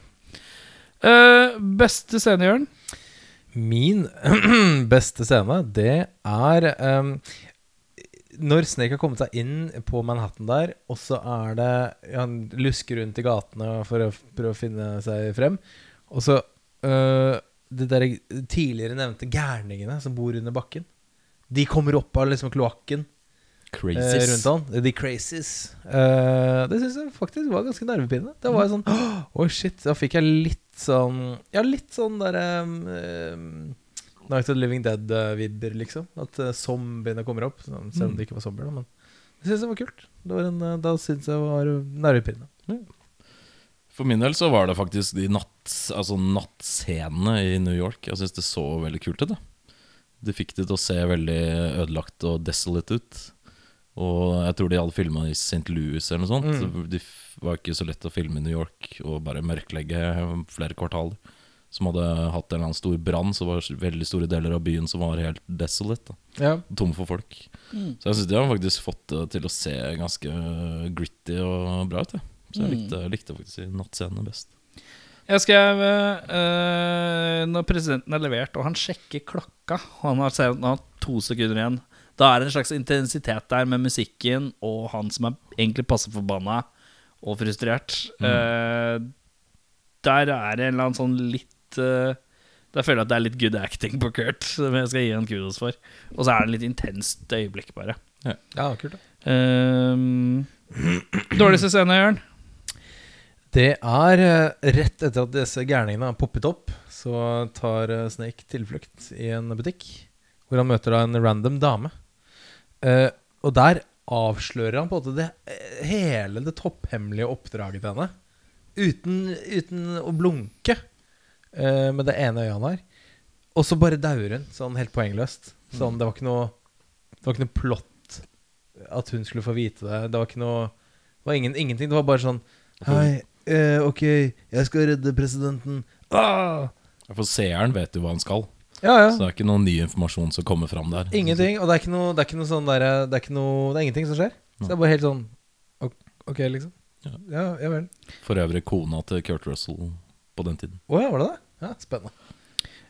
A: Eh, Beste scene, Jørn?
C: Min beste scene, det er ehm, når Snake har kommet seg inn på Manhattan der, og så er det Han lusker rundt i gatene for å f- prøve å finne seg frem. Og så øh, de der tidligere nevnte gærningene som bor under bakken. De kommer opp av liksom kloakken eh,
D: Crazies.
C: rundt han. The Crazies. Eh, det syns jeg faktisk var ganske nervepirrende. Det var jo sånn Å, shit. Da fikk jeg litt sånn Ja, litt sånn derre Night of the Living Dead-vibber, liksom. At eh, zombiene kommer opp. Sånn, selv om det ikke var zombier, da. Men det syns jeg var kult. Det var en, eh, da syns jeg var nervepirrende.
D: For min del så var det faktisk de natt, altså nattscenene i New York. Jeg syns det så veldig kult ut. da De fikk det til å se veldig ødelagt og desolate ut. Og jeg tror de hadde filma i St. Louis eller noe sånt. Så Det f- var ikke så lett å filme i New York og bare mørklegge flere kvartaler. Som hadde hatt en eller annen stor brann, så var det veldig store deler av byen som var helt desolate. da
C: Ja.
D: tom for folk.
C: Mm.
D: Så jeg synes de har faktisk fått det til å se ganske øh, gritty og bra ut. jeg. Så
C: Mm.
D: jeg likte, likte faktisk nattscenene best.
A: Jeg skrev eh, Når presidenten er levert, og han sjekker klokka og Han har, han har to sekunder igjen. Da er det en slags intensitet der med musikken og han som er egentlig passe forbanna og frustrert. Eh, der er det en eller annen sånn litt eh, Der føler jeg at det er litt good acting på Kurt, som jeg skal gi han kudos for. Og så er det litt intenst øyeblikk, bare.
C: ja, kult, da.
A: Um, dårligste scene, Jørn?
C: Det er eh, rett etter at disse gærningene har poppet opp, så tar eh, Snake tilflukt i en butikk, hvor han møter da en random dame. Eh, og der avslører han på en måte det, eh, hele det topphemmelige oppdraget til henne. Uten, uten å blunke eh, med det ene øyet han har. Og så bare dauer hun, sånn helt poengløst. Sånn, det var ikke noe Det var ikke noe plott at hun skulle få vite det. Det var ikke noe Det var ingen, ingenting. Det var bare sånn Hei, eh, ok, jeg skal redde presidenten. Ah!
D: For seeren vet jo hva han skal, så
C: Ja, ja.
D: det er ikke noen ny informasjon som kommer fram der.
C: Ingenting. Og det er ikke noe, det er ikke noe sånn derre det, er ikke noe- det er ingenting som skjer. Så det er bare helt sånn ok, Ok, liksom.
D: Ja.
C: Ja, ja vel.
D: For øvrig kona til Kurt Russell på den tiden.
C: Å ja, var det det? Ja, spennende.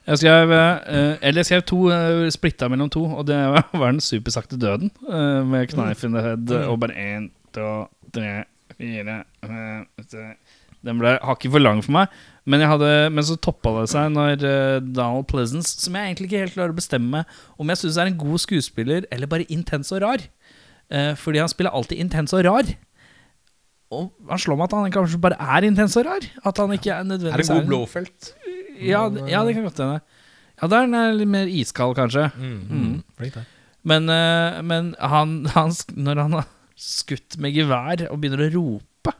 A: Jeg skrev, eh, eller jeg skrev to eh, splitta mellom to, og det var var den supersakte døden. eh, med knife in the head
C: Mm.
A: og bare én, to, tre, fire fem, se- Den ble hakket for lang for meg. Men, jeg hadde, men så toppa det seg når eh, Donald Pleasance, som jeg egentlig ikke helt klarer å bestemme om jeg syns er en god skuespiller eller bare intens og rar eh, Fordi han spiller alltid intens og rar. Og han slår meg at han kanskje bare er intens og rar. At han ikke er nødvendigvis
C: Er det god blåfelt?
A: ja, d- ja, det kan godt hende. Ja, der er den litt mer iskald, kanskje.
C: Mm. Flink der.
A: Men, eh, men han, han, sk- når han har skutt med gevær og begynner å rope,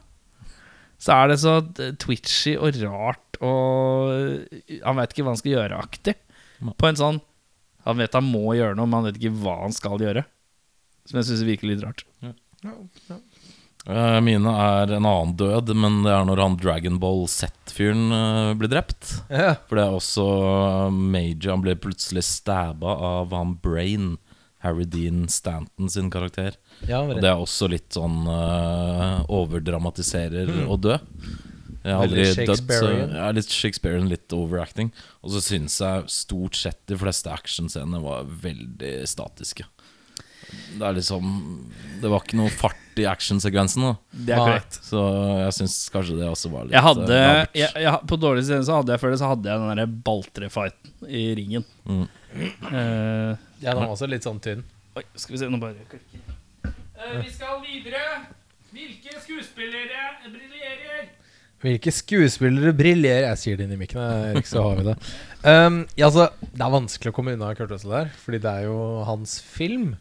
A: så er det så d- twitchy og rart og eh, Han veit ikke hva han skal gjøre-aktig. På en sånn Han vet han må gjøre noe, men han vet ikke hva han skal gjøre. Som jeg syns virker litt rart.
D: Eh, mine er en annen død, men det er når han Dragonball Z-fyren eh, blir drept.
C: Ja.
D: For det er også eh, Major Han ble plutselig stabba av han Brain, Harry Dean Stanton sin karakter.
C: ja,
D: Og
C: men det
D: det er også litt sånn eh, overdramatiserer
A: Mm.
D: å dø. Jeg har aldri
C: Veldig
D: dødd, så
C: Shakespearean.
D: ja, litt Shakespearean, litt overacting. Og så syns jeg stort sett de fleste actionscenene var veldig statiske. Det er liksom Det var ikke noe fart i actionsekvensen. da.
A: Det er
C: Nei.
A: korrekt.
D: Så jeg syns kanskje det også var litt
A: Jeg hadde,
D: eh, labert.
A: jeg, jeg, på dårlig sted så hadde jeg før det så hadde jeg den der Baltre-fighten i ringen.
D: Mm.
A: Eh,
C: ja, den var også litt sånn tynn.
A: Oi, skal vi se, nå bare klikker. vi skal videre. Hvilke skuespillere briljerer?
C: Hvilke skuespillere briljerer Jeg sier det inn i mikken, Erik, så har vi det. Um, ja, altså, det er vanskelig å komme unna Kurt Russell der, fordi det er jo hans film.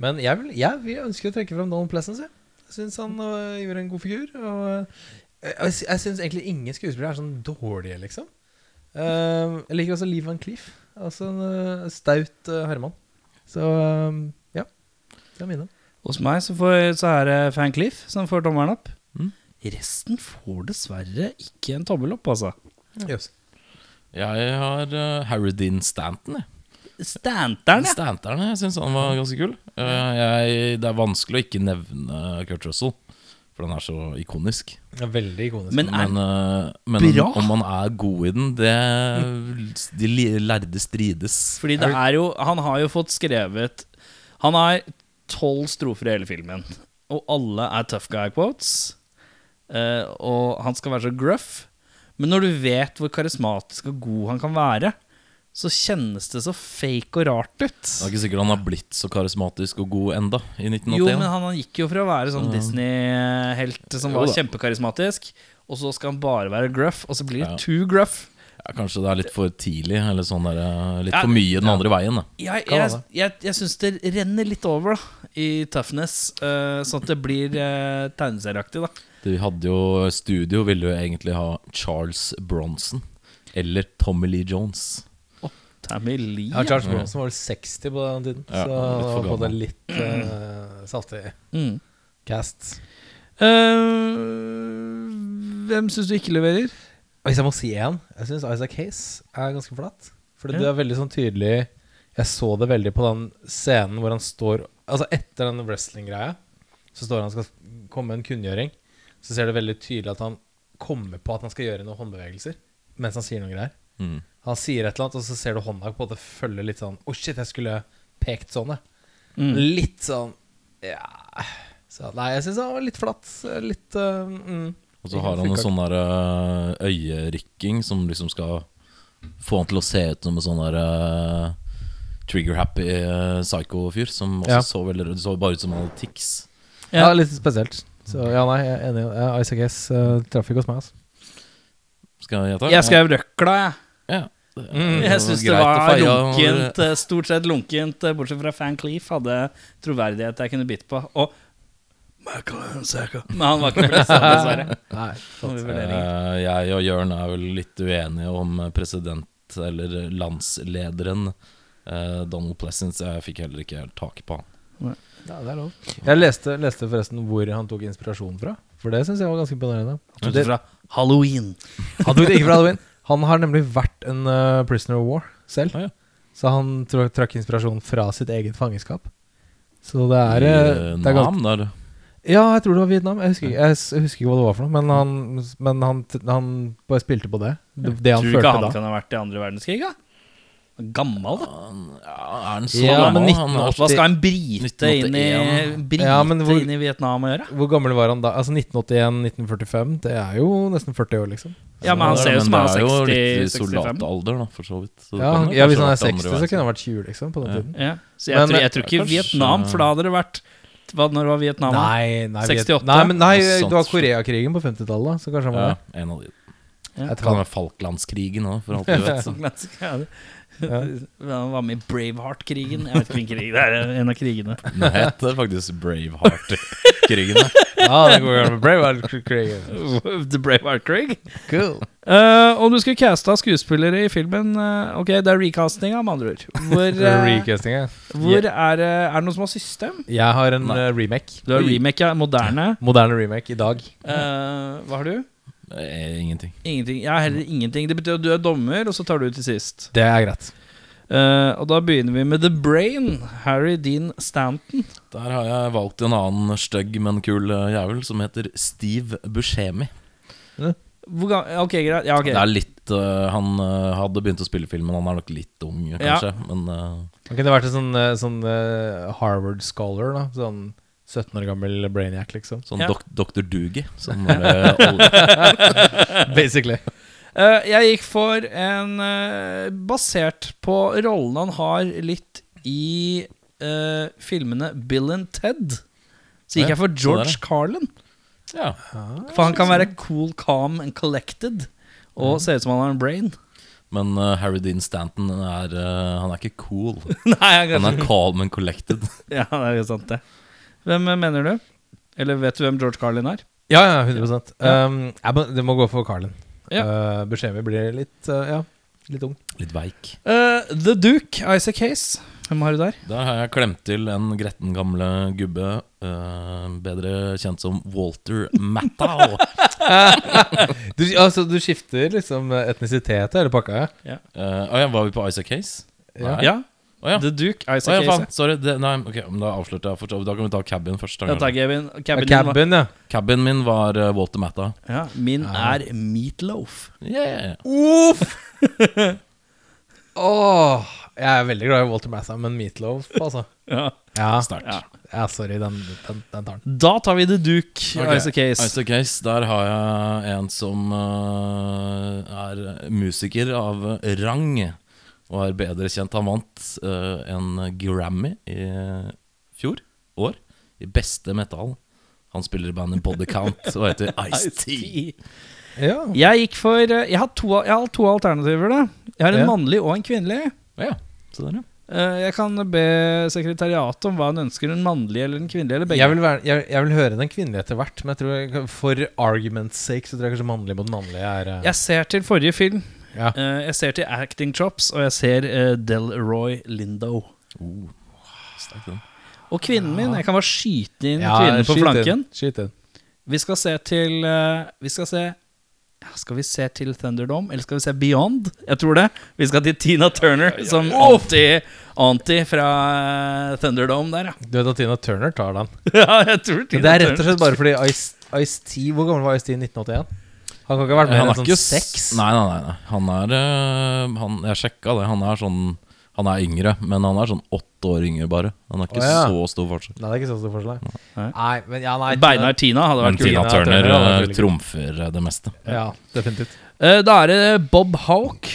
C: Men jeg vil, jeg vil ønske å trekke fram Donald Pleasence. Jeg, jeg syns han øh, gjorde en god figur. Og, øh, jeg sy- jeg syns egentlig ingen skuespillere er sånn dårlige, liksom. Um, jeg liker også Liv Van Cleef. Altså en øh, staut øh, herremann. Så um, ja. Det er mine.
G: Hos meg så, får, så er det Fan Cliff som får tommelen opp.
D: Mm.
G: Resten får dessverre ikke en tommel opp, altså.
C: Jøss.
D: Jeg har eh, Harry Dean Stanton, jeg.
G: Stanteren, ja.
D: Stanterne, jeg syns han var ganske kul. Eh, jeg, det er vanskelig å ikke nevne Kurt Russell, for han er så ikonisk.
C: Det er Veldig ikonisk.
G: Men er
D: Men, eh, men
G: bra?
D: om man er god i den, det De li- lærde strides.
A: Fordi det er jo Han har jo fått skrevet Han har tolv strofer i hele filmen, og alle er tough guy quotes. eh, og han skal være så gruff. Men når du vet hvor karismatisk og god han kan være, så kjennes det så fake og rart ut.
D: Det er ikke sikkert han har blitt så karismatisk og god enda i 1981.
A: Jo, men han, han gikk jo fra å være sånn Disney-helt som
D: Jo
A: var
D: da.
A: kjempekarismatisk, og så skal han bare være gruff, og så blir det
D: Ja.
A: too gruff.
D: ja, kanskje det er litt for tidlig, eller sånn der, eh, litt
A: Ja,
D: for mye den andre veien. Da.
A: Jeg,
C: Kan
A: jeg,
C: være.
A: jeg, jeg syns det renner litt over da i toughness, eh, sånn at det blir uh, tegneserieaktig. da
D: De hadde jo Studio ville jo egentlig ha Charles Bronson eller Tommy Lee Jones.
A: Tammy Lee.
C: Ja, Charles Bronson var vel 60 på den tiden,
D: Ja,
C: så
D: litt
C: det
D: for
C: var både
D: gammel.
C: litt eh, saltig
A: Mm.
C: cast.
G: Eh, hvem syns du ikke leverer?
C: Hvis jeg må si én, jeg syns Isaac Hayes er ganske flatt. For det er veldig sånn tydelig Jeg så det veldig på den scenen hvor han står Altså etter den wrestling-greia, så står han og skal komme med en kunngjøring. Så ser du veldig tydelig at han kommer på at han skal gjøre noen håndbevegelser mens han sier noen greier.
D: Mm.
C: Han sier et eller annet, og så ser du hånda på at det følger litt sånn Å, shit, jeg skulle pekt sånn, jeg. Litt sånn Ja så, Nei, jeg syns han var litt flatt. Litt øh, mm.
D: Og så har han en sånn der eh, øyerykking som liksom skal få han til å se ut som en sånn der eh, trigger-happy eh, psycho-fyr som også
C: Ja.
D: så veldig Det så bare ut som han hadde tics.
C: Ja, litt spesielt. Så ja, nei, jeg er enig. Ja, Isaac Hayes uh, traff ikke hos meg, altså.
D: Skal jeg gjette?
A: Jeg skrev røkla, jeg.
D: Ja.
A: Jeg syns det
D: Mm, greit å
A: var
D: feie over-
A: lunkent, eh, stort sett lunkent, eh, bortsett fra Fan Cleef hadde troverdighet jeg kunne bitt på. Og Michael Ansaker. Men han var ikke på lista, dessverre.
C: Nei,
A: Noen vurderinger.
D: Eh, jeg og Jørn er vel litt uenige om president eller landslederen. Eh, Donald Pleasence, jeg fikk heller ikke helt tak på han.
C: ja, det er lov. Jeg leste, leste forresten hvor han tok inspirasjon fra, for det syns jeg var ganske imponerende.
A: Bortsett Fra Halloween.
C: Han tok det ikke fra Halloween. Han har nemlig vært en eh, prisoner of war selv.
D: Ah, ja.
C: Så han tro- trakk inspirasjon fra sitt eget fangeskap. Så det er, eh,
D: I, eh,
C: det er ganske,
D: Nam, der.
C: Ja, jeg tror det var Vietnam. Jeg husker, ikke- jeg s- husker ikke hva det var for noe. Men han, men han, t- han bare spilte på det. Det, det han
A: Tror du ikke
C: følte
A: han
C: da.
A: kan ha vært i andre verdenskrig, da? Han er Gammel, da.
D: Ja, er han så
C: Ja, men
D: gammel? Han er-
A: Hva skal en brite inn i,
D: 1981.
A: brite
C: Ja, men hvor-
A: inn i Vietnam å gjøre?
C: Hvor gammel var han da? Altså 1981-1945? Det er jo nesten 40 år, liksom.
A: Ja, men han ser ut som han
D: det
A: er
D: jo
A: 60,
D: litt i
A: 65.
D: soldatalder, da, for så vidt. Så det
C: Ja,
D: kan
C: han,
D: jo
C: ja
D: kanskje
C: Hvis han
D: ha
C: er
D: vært
C: 60,
D: andre
C: så
D: verdenskrig.
C: kunne han vært 20, liksom. På den
D: Ja.
C: tiden.
A: Ja. Så jeg,
C: Men-
A: tror, jeg tror ikke
D: Kanskje-
A: Vietnam, for da hadde det vært hva, Når var Vietnam? da?
C: Nei, nei, vi-
A: 68?
C: Nei, men nei,
D: Noe sånt.
C: det var Koreakrigen på 50-tallet, da, så kanskje han
D: Ja,
C: var det.
D: en av de.
C: Jeg
D: Det kan
C: tror
D: være Falklandskrigen òg, for alt du vet. Så.
A: Ja, det- Han var med i Braveheart-krigen. Jeg vet ikke hvilken krig det er. En av krigene.
D: Den heter faktisk Braveheart-krigen. da.
C: Ja, det går gjerne med Braveheart-krigen.
A: The Braveheart-krig?
C: Cool.
G: Eh, om du skulle casta skuespillere i filmen eh, Ok, det er recastinga, med andre ord. Hvor, eh,
C: Recasting, ja.
G: hvor er, det- er det noe som har system?
C: Jeg har en
D: Nei.
C: eh, remake.
A: Du har remake, ja. Moderne.
C: Moderne remake i dag.
A: Eh, hva har du?
D: Eh, Ingenting.
A: Ingenting. Jeg har heller ingenting. Det betyr at du er dommer, og så tar du til sist.
C: Det er greit.
A: Eh, og da begynner vi med The Brain. Harry Dean Stanton.
D: Der har jeg valgt en annen stygg, men kul eh, jævel som heter Steve Buscemi.
A: Hvor ga ok, greit. Ja, ok.
D: Det er litt eh, Han eh, hadde begynt å spille film, men han er nok litt ung, kanskje. Men eh,
C: Han kunne vært en sånn, eh, sånn eh, Harvard scholar, da. Sånn 17 år gammel brainiac, liksom.
D: sånn
A: Ja.
D: dok Dr. Doogie. Som bare alle
C: Sånn, Basically.
G: Eh, jeg gikk for en eh, basert på rollen han har litt i eh, filmene Bill and Ted. Så
D: Ja,
G: gikk jeg for
D: sånn er
G: George
D: det.
G: Carlin.
D: Ja.
A: For han kan være cool, calm and collected. Og ser ut som han har en brain.
D: Men eh, Harry Dean Stanton er, eh, han er ikke cool.
A: Nei, han
D: Han
A: kan
D: er calm and collected.
A: Ja, det er jo sant, det. Hvem eh, mener du? Eller vet du hvem George Carlin er?
C: Ja, ja, 100 um, ja, men Det må gå for Carlin.
A: Ja.
C: Uh, Buscemi blir litt uh, Ja, litt ung.
D: Litt veik.
A: Eh, The Duke, Isaac Hayes. Hvem har du der?
D: Der har jeg klemt til en gretten gamle gubbe, eh, bedre kjent som Walter Mattau.
C: Du, altså, du skifter liksom etnisitet i hele pakka? Ja.
D: Eh, Å ja, var vi på Isaac Case?
C: Ja.
D: Nei.
A: Ja,
D: Å ja.
A: The Duke,
D: Å
A: Isaac
D: ja, faen.
A: Hayes.
D: Sorry. Det, nei, ok, men da avslørte jeg. For, da kan vi ta cabin først.
A: Ja,
D: da,
A: takk,
D: kanskje.
A: Kevin. Kevin, din
C: Cabin, ja.
D: Cabin min var eh, Walter Mattau.
A: var- Ja, min er Meatloaf.
D: Yeah.
C: Uff! Åh, jeg er veldig glad i Walter Massa, men Meatloaf, altså.
A: Ja.
C: Ja,
D: Sterkt.
A: Ja.
C: ja sorry, den, den, den tar den.
A: Da tar vi The Duke,
D: Ok,
A: Isaac Hayes.
D: Isaac Hayes, Der har jeg en som eh, er musiker av rang. Og er bedre kjent. Han vant eh, en Grammy i fjor år i beste metal. Han spiller i bandet Body Count og heter Ice-T.
C: Ja.
A: Jeg gikk for eh, Jeg har to, jeg har to alternativer, da. Jeg har en
C: Ja.
A: mannlig og en kvinnelig.
D: Ja, så der, ja.
A: Eh, jeg kan be sekretariatet om hva hun ønsker. En mannlig eller en kvinnelig, eller begge.
C: Jeg vil, være, jeg, jeg vil høre den kvinnelige etter hvert, men jeg tror jeg, for argument's sake så tror jeg kanskje mannlig mot mannlig er eh,
A: Jeg ser til forrige film.
C: Ja.
A: Eh, jeg ser til acting chops, og jeg ser eh, Delroy Lindo.
D: Oh, sterk den.
A: Og kvinnen min. Jeg kan bare skyte inn
C: Ja,
A: kvinnen på
C: skyt inn,
A: flanken.
C: Skyt inn.
A: Vi skal se til eh, Vi skal se ja, Skal vi se til Thunderdome, eller skal vi se Beyond? Jeg tror det. Vi skal til Tina Turner som anti, anti fra eh, Thunderdome der, ja.
C: Du vet at Tina Turner tar den.
A: ja jeg tror Tina
C: Men det er rett og
A: Turner.
C: slett bare fordi Ice- Ice-T Hvor gammel var Ice-T i 1981? Han kan ikke ha vært mer
D: Han
C: enn
D: er
C: sånn
D: ikke
C: seks?
D: Nei, nei, nei. nei. Han er eh, han, Jeg sjekka det. Han er sånn Han er yngre, men han er sånn åtte år yngre, bare. Han er ikke
C: Å, ja.
D: så stor forskjell.
C: Nei, det er ikke så stor forskjell. nei.
A: Nei.
C: Nei, men ja, nei
A: Beinar Tina hadde
D: Men
A: vært kult.
D: Tina
C: Tina
D: Turner
C: Turner hadde vært
D: eh,
C: veldig
D: trumfer eh, det meste.
C: Ja, definitivt.
A: Eh, da er det Bob Hawk.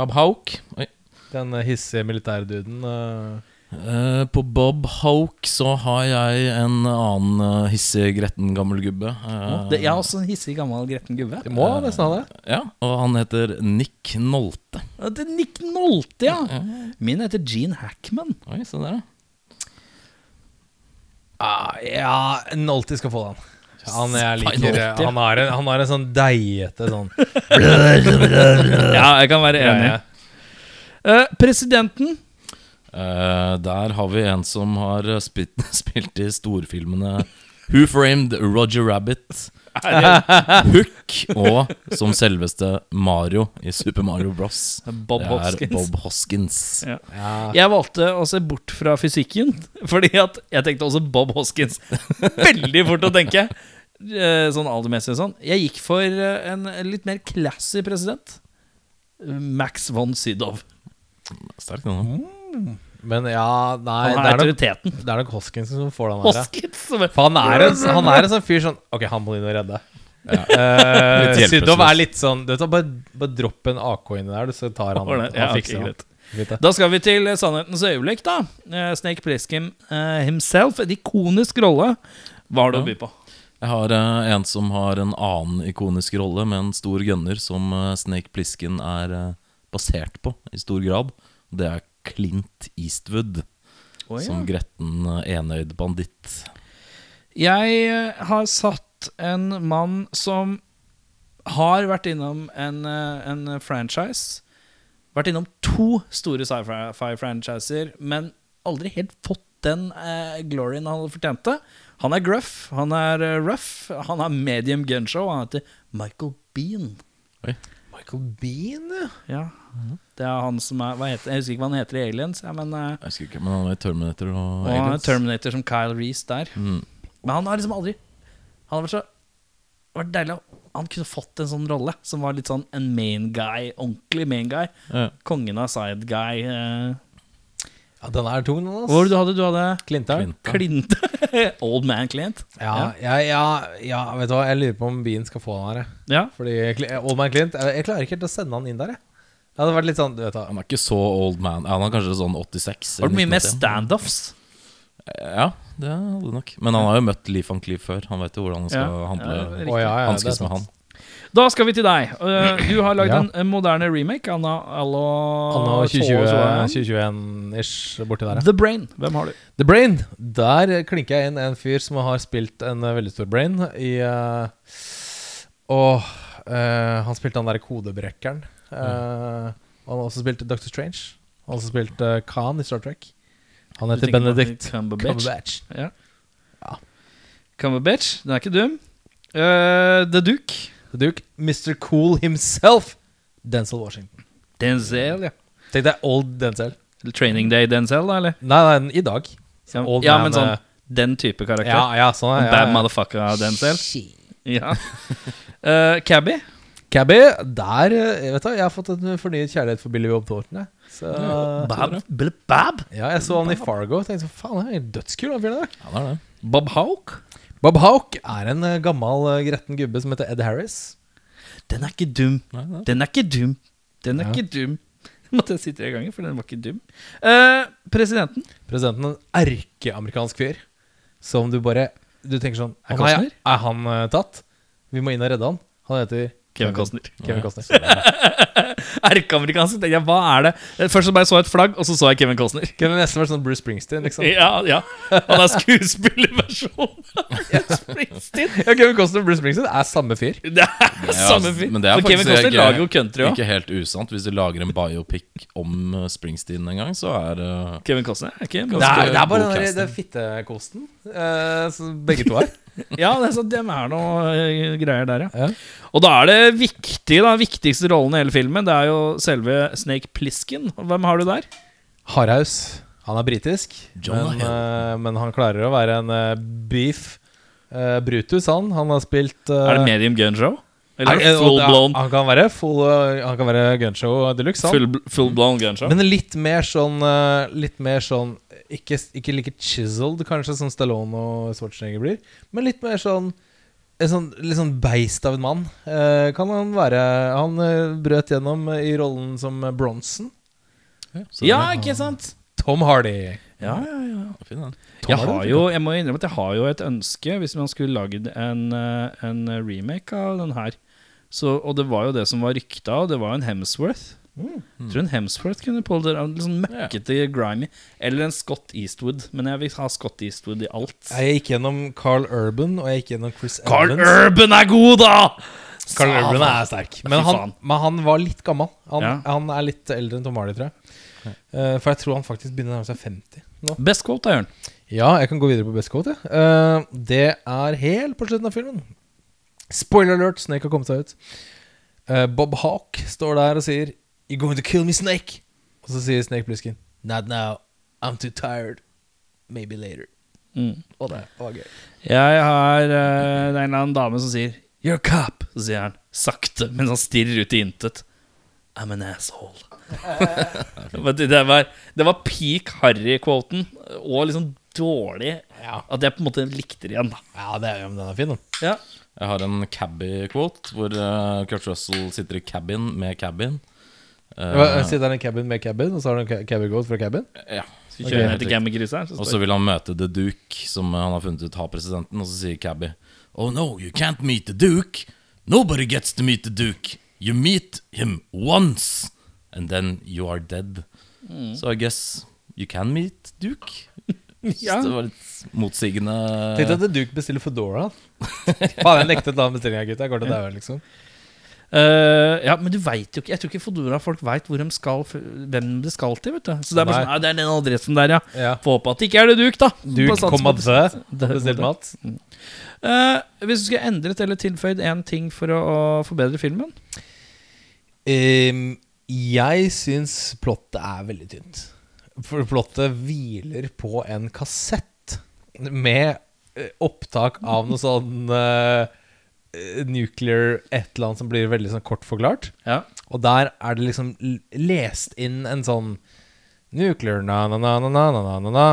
D: Bob Hawk. Oi.
C: Den eh, hissige militærduden eh,
D: Eh, på Bob Hawk så har jeg en annen eh, hissig, gretten gammel gubbe. Eh,
A: Det, jeg er også en hissig gammel gretten gubbe.
C: Det må nesten ha det.
D: ja, og han heter Nick Nolte.
A: Ja, Det er Nick Nolte, ja. Min heter Gene Hackman.
D: Oi, se der, ja.
C: Ah, ja, Nolty skal få den. Han jeg
A: Fine
C: liker
A: Nolty.
C: Han har en, han har en sånn deigete sånn
A: Ja, jeg kan være enig.
C: greie.
A: Eh, presidenten
D: Eh, der har vi en som har eh, spilt, spilt i storfilmene Who Framed Roger Rabbit, Hook og som selveste Mario i Super Mario Bros.
A: Bob
D: det er
A: Hoskins.
D: Bob Hoskins.
A: Ja.
C: Ja.
A: Jeg valgte å se bort fra fysikken, fordi at jeg tenkte også Bob Hoskins. Veldig fort å tenke. eh, Sånn aldermessig og sånn. Jeg gikk for eh, en litt mer classy president. Max von Sydow.
D: Sterk, den.
C: Men ja,
A: Han
C: nei det
A: er
C: er, nok,
A: autoriteten.
C: det er nok Hoskins som får den her. ja.
A: Hoskins! som er-
C: For han er, en, han er en sånn fyr sånn Ok, han må inn og redde. Ja.
D: Litt hjelpeløs.
C: Syddov er litt sånn du vet, hva, bare, bare dropp en AK inni der, du, så tar han
A: Ordentlig. Ja,
C: Han
A: ok,
C: fikser
A: greit.
C: det.
A: Da skal vi til eh, sannhetens øyeblikk, da. Eh, Snake Plissken eh, himself, en ikonisk rolle. Hva har du å by på?
D: Jeg har eh, en som har en annen ikonisk rolle med en stor gunner som eh, Snake Plissken er eh, basert på i stor grad. Det er Clint Eastwood
A: Å, ja.
D: som gretten eh, enøyd banditt.
A: Jeg eh, har satt en mann som har vært innom en, eh, en franchise. Vært innom to store sci-fi-franchiser, men aldri helt fått den eh, gloryen han fortjente. Han er gruff, han er eh, rough, han er medium gunshow, og han heter Michael Bean.
C: Michael Bean, ja.
A: Ja, Det er han som er hva heter, Jeg husker ikke hva han heter i Aliens, ja, men eh,
D: Jeg husker ikke, men han var i Terminator og
A: og han er
D: Aliens.
A: Terminator som Kyle Reese der.
D: Mm.
A: Men han har liksom aldri Han har vært så det har vært deilig å- Han kunne fått en sånn rolle som var litt sånn en main guy, ordentlig main guy.
D: Ja.
A: Kongen av side guy. Eh.
C: ja den er tung, den. ass.
A: Hva var det du hadde? Du hadde
C: Clinton.
D: Clint.
A: Clint. Old man Clint.
C: Ja, ja, ja, ja, vet du hva, jeg lurer på om Bean skal få den her. jeg.
A: Ja.
C: Fordi Cl- Old Man Clint Jeg, jeg klarer ikke helt å sende han inn der, jeg. Det hadde vært litt sånn, du vet da
D: Han er ikke så old man. Ja, Han er kanskje sånn 86.
A: Har vært mye mer
D: 1981.
A: standoffs.
D: Ja, det hadde nok. Men han har jo møtt Lee van Cleef før. Han vet jo hvordan han skal
A: Ja,
D: handle
A: riktig.
C: Å, ja, ja, det er
D: hanskes med
C: sant.
D: han.
A: Da skal vi til deg. Eh, Du har lagd
C: Ja.
A: en eh, moderne remake. Anna, Allo,
C: Anno
A: så- så-
C: 2021-ish borti der, ja.
A: The Brain. Hvem har du?
C: The Brain. Der klinker jeg inn en fyr som har spilt en eh, veldig stor brain i eh, Åh eh, Han spilte han derre kodebrekkeren. Eh, Han har også spilt Doctor Strange. Han har også spilt eh, Khan i Star Trek. Han
A: Du
C: heter
A: tenker på
C: Benedict
A: Cumberbatch.
C: Cumberbatch.
A: Cumberbatch. Den er ikke dum. Eh, The Duke.
C: The Duke. Mr. Cool himself. Denzel Washington.
A: Denzel, ja.
C: Tenk deg old Denzel.
A: Eller Training Day Denzel, da, eller?
C: Nei, nei, i dag.
A: Ja,
C: Old
A: ja
C: man,
A: men sånn
C: eh,
A: den type karakter.
C: Ja, ja, sånn er
A: Bad
C: ja, ja.
A: motherfucker Denzel. Ja. Eh, Cabby.
C: Cabby, der eh, vet du, hva, Jeg har fått en fornyet kjærlighet for Billy Bob Thornton. jeg. Så,
A: Bab. Bab.
C: Ja, jeg så han i Fargo og tenkte sånn, faen, han er helt dødskul. han fyren der.
D: Ja, det er det.
A: Bob Hawk.
C: Bob Hawk er en eh, gammel eh, gretten gubbe som heter Ed Harris.
A: Den er ikke dum.
D: Nei, det er.
A: Den er ikke dum. Den er ikke dum. Måtte jeg si tre ganger, for den var ikke dum. Eh, presidenten.
C: Presidenten er en erkeamerikansk fyr som du bare Du tenker sånn
A: Er
C: «Å nei,
A: Costner?»
C: Er han eh, tatt? Vi må inn og redde han. Han heter
A: Kevin Costner.
C: Kevin Costner.
A: Erkeamerikansk. tenkte jeg, Hva er det? Eh, Først så bare så jeg et flagg, og så så jeg Kevin Costner.
C: Kunne nesten vært sånn Bruce Springsteen, liksom. Ja,
A: Ja, ja. Han er skuespillerversjonen av Jens Springsteen.
C: Kevin Costner og Bruce Springsteen er samme fyr.
A: Det er
D: Ja, altså,
A: samme fyr.
D: Men det er
A: For Kevin
D: faktisk
A: Costner
D: ikke-
A: lager jo country òg.
D: Ikke helt usant. Hvis du lager en biopic om eh, Springsteen en gang, så er eh, det
A: Kevin Costner er ikke
C: Det er, det er bare
D: god
C: den
D: casting.
C: der- den fittekosten eh, som begge to er.
A: Ja, det er sånn, dem er noe eh, greier der, ja.
C: Ja.
A: Og da er det viktig, da, viktigste rollen i hele filmen, det er jo selve Snake Plissken. Hvem har du der?
C: Hardhaus. Han er britisk,
D: Jonah
C: men, eh, men han klarer å være en eh, beef. Eh, Brutus, han. Han har spilt eh,
A: Er det Medium Gun Show? Eller
D: eh,
C: er- og
A: full
C: det er-
A: blown,
C: Han kan være full eh, Han kan være gunshow de luxe, han.
A: full, full blown gun show?
C: Men litt mer sånn eh, Litt mer sånn Ikke, ikke like chiseled, kanskje, som Stallone og Schwarzenegger blir, men litt mer sånn en sånn, litt sånn beist av en mann eh, kan han være. Han eh, brøt gjennom eh, i rollen som eh, Bronson.
D: så
A: Ja,
D: det
A: ikke sant?
C: Tom Hardy.
A: Ja, ja, ja.
D: er fin, den.
A: Jeg,
C: Hardy,
A: har jo, jeg må innrømme at jeg har jo et ønske, hvis man skulle lagd en, eh, en remake av den her. Så, og det var jo det som var rykta, og det var en Hemsworth.
C: Mm.
A: Jeg tror en Hemsworth kunne pulled it out. Litt sånn møkkete, grimy. Eller en Scott Eastwood. Men jeg vil ha Scott Eastwood i alt.
C: Jeg gikk gjennom Carl Urban og jeg gikk gjennom Chris
A: Carl
C: Evans.
A: Urban er god, da!
C: Carl
A: Sa
C: Urban
A: faen.
C: er sterk,
A: Fy
C: men han,
A: faen.
C: men han var litt gammel. Han,
A: Ja.
C: han er litt eldre enn Tom Hardy, tror jeg. Eh, for jeg tror han faktisk begynner å nærme seg 50 nå.
A: Best quote, da, Jørn.
C: Ja, jeg kan gå videre på best quote. jeg. Eh, det er helt på slutten av filmen. Spoiler alert, Snake har kommet seg ut. Eh, Bob Hawk står der og sier You're going to kill me, Snake. Og så sier Snake Plissken Not now. I'm too tired. Maybe later.
A: Mm.
C: Og det var gøy.
A: Jeg har eh, det er en eller annen dame som sier You're a cop, så sier han sakte, mens han stirrer ut i intet. I'm an asshole. Men det, det var, det var peak Harry-quoten, og liksom dårlig
C: Ja.
A: at jeg på en måte likte det igjen, da.
C: Ja, det er, ja, men den er fin, den.
A: Ja.
D: Jeg har en cabby-quote, hvor eh, Kurt Russell sitter i cabin med cabin. Eh,
C: Hva, Sitter han i cabin med cabin, og så har han ca- cabin goat fra cabin?
D: ja.
A: Skal kjøre ned til Gammelgris her.
D: Og så vil han møte The Duke, som eh, han har funnet ut har presidenten, og så sier Cabby Oh no, you can't meet the Duke. Nobody gets to meet the Duke. You meet him once, and then you are dead.
A: Mm.
D: So I guess you can meet Duke.
A: Ja.
D: Så det var litt motsigende
C: Tenkte at Duke bestiller Foodora. Faen, jeg nektet den bestillinga, gutta. Jeg går til daua, liksom.
A: Eh, ja, men du veit jo ikke Jeg tror ikke Fodora-folk veit hvem det skal til. vet du Så det er bare
C: Nei.
A: sånn, ja, det er den adressen der, ja.
C: Ja.
A: Får håpe at det ikke er det Duke, da. På
C: Duke,
A: sats-
C: kom og dø. Bestill mat.
A: Eh, hvis du skulle endret eller tilføyd én ting for å, å forbedre filmen
C: Ehm, jeg syns plottet er veldig tynt. For plottet hviler på en kassett med eh, opptak av noe sånn eh, eh, nuclear et eller annet som blir veldig sånn kort forklart.
A: Ja.
C: Og der er det liksom l- lest inn en sånn Nuclear na-na-na-na-na-na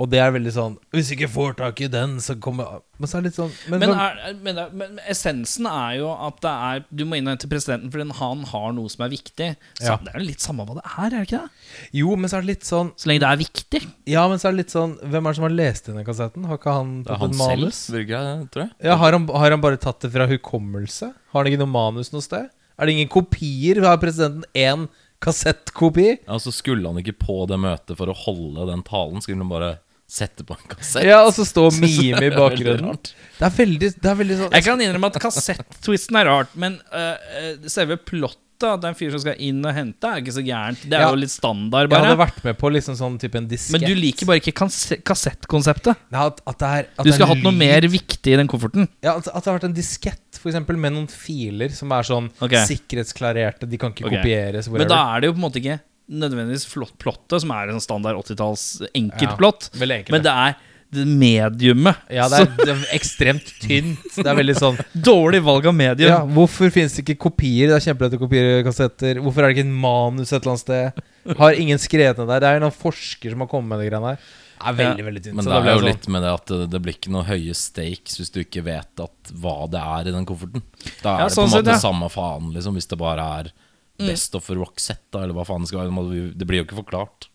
C: Og det er veldig sånn Hvis ikke får tak i den, så kommer Men så er det litt sånn Men,
A: Men,
C: men-
A: er, er- men, er- men essensen er jo at det er du må innhente presidenten fordi han har noe som er viktig. Så
C: Ja.
A: Det er jo litt samme hva det er, er det ikke det?
C: jo, men så er det litt sånn
A: Så lenge det er viktig.
C: Ja, men så er det litt sånn Hvem er det som har lest denne kassetten? Har ikke han
D: Det er
C: tatt
D: han
C: et
D: selv,
C: manus?
D: virker det, tror jeg.
C: Ja, har han, har han bare tatt det fra hukommelse? Har han ikke noe manus noe sted? Er det ingen kopier? Har presidenten én kassettkopi?
D: Ja, og så skulle han ikke på det møtet for å holde den talen. Skulle han bare sette på en kassett?
C: Ja, og så står mime i
D: Det er veldig
C: bakgrunnen.
D: rart.
C: Det er veldig, det er veldig sånn
A: Jeg kan innrømme at kassettwisten er rart, men øh, øh, selve plottet, at det er en fyr som skal inn og hente, er ikke så gærent. Det er
C: Ja.
A: jo litt standard,
C: Jeg hadde
A: bare.
C: vært med på liksom sånn type en diskett.
A: Men du liker bare ikke kanse- kassettkonseptet.
C: Nei, at, at det er, at
A: Du
C: det er
A: skulle hatt noe
C: lyd.
A: mer viktig i den kofferten.
C: Ja, altså, at, at det har vært en diskett, for eksempel, med noen filer som er sånn
A: Ok.
C: sikkerhetsklarerte, de kan ikke
A: Ok.
C: kopieres,
A: Men
C: whatever.
A: da er det jo på en måte ikke nødvendigvis flott plottet, som er en sånn standard 80-talls
C: Ja,
A: enkeltplott,
C: veldig enkelt.
A: men det er det mediumet.
C: ja, det er, det er ekstremt tynt. Det er veldig sånn
A: Så dårlig valg av medium.
C: Ja, hvorfor finnes det ikke kopier? Det er kjempelett å kopiere kassetter. Hvorfor er det ikke en manus et eller annet sted? Har ingen skrevet ned der? Det er noen forsker som har kommet med de greiene der. Det er veldig, veldig tynt.
D: Men
C: så
D: det
C: da ble
D: er jo
C: jeg sånn-
D: litt med det at det- det blir ikke noe høye stakes hvis du ikke vet at hva det er i den kofferten. Da er
A: Ja,
D: det på en
A: sånn sett,
D: måte
A: ja.
D: samme faen, liksom, hvis det bare er Best of Roxette, da, eller hva faen det skal være. Det må- Det blir jo ikke forklart.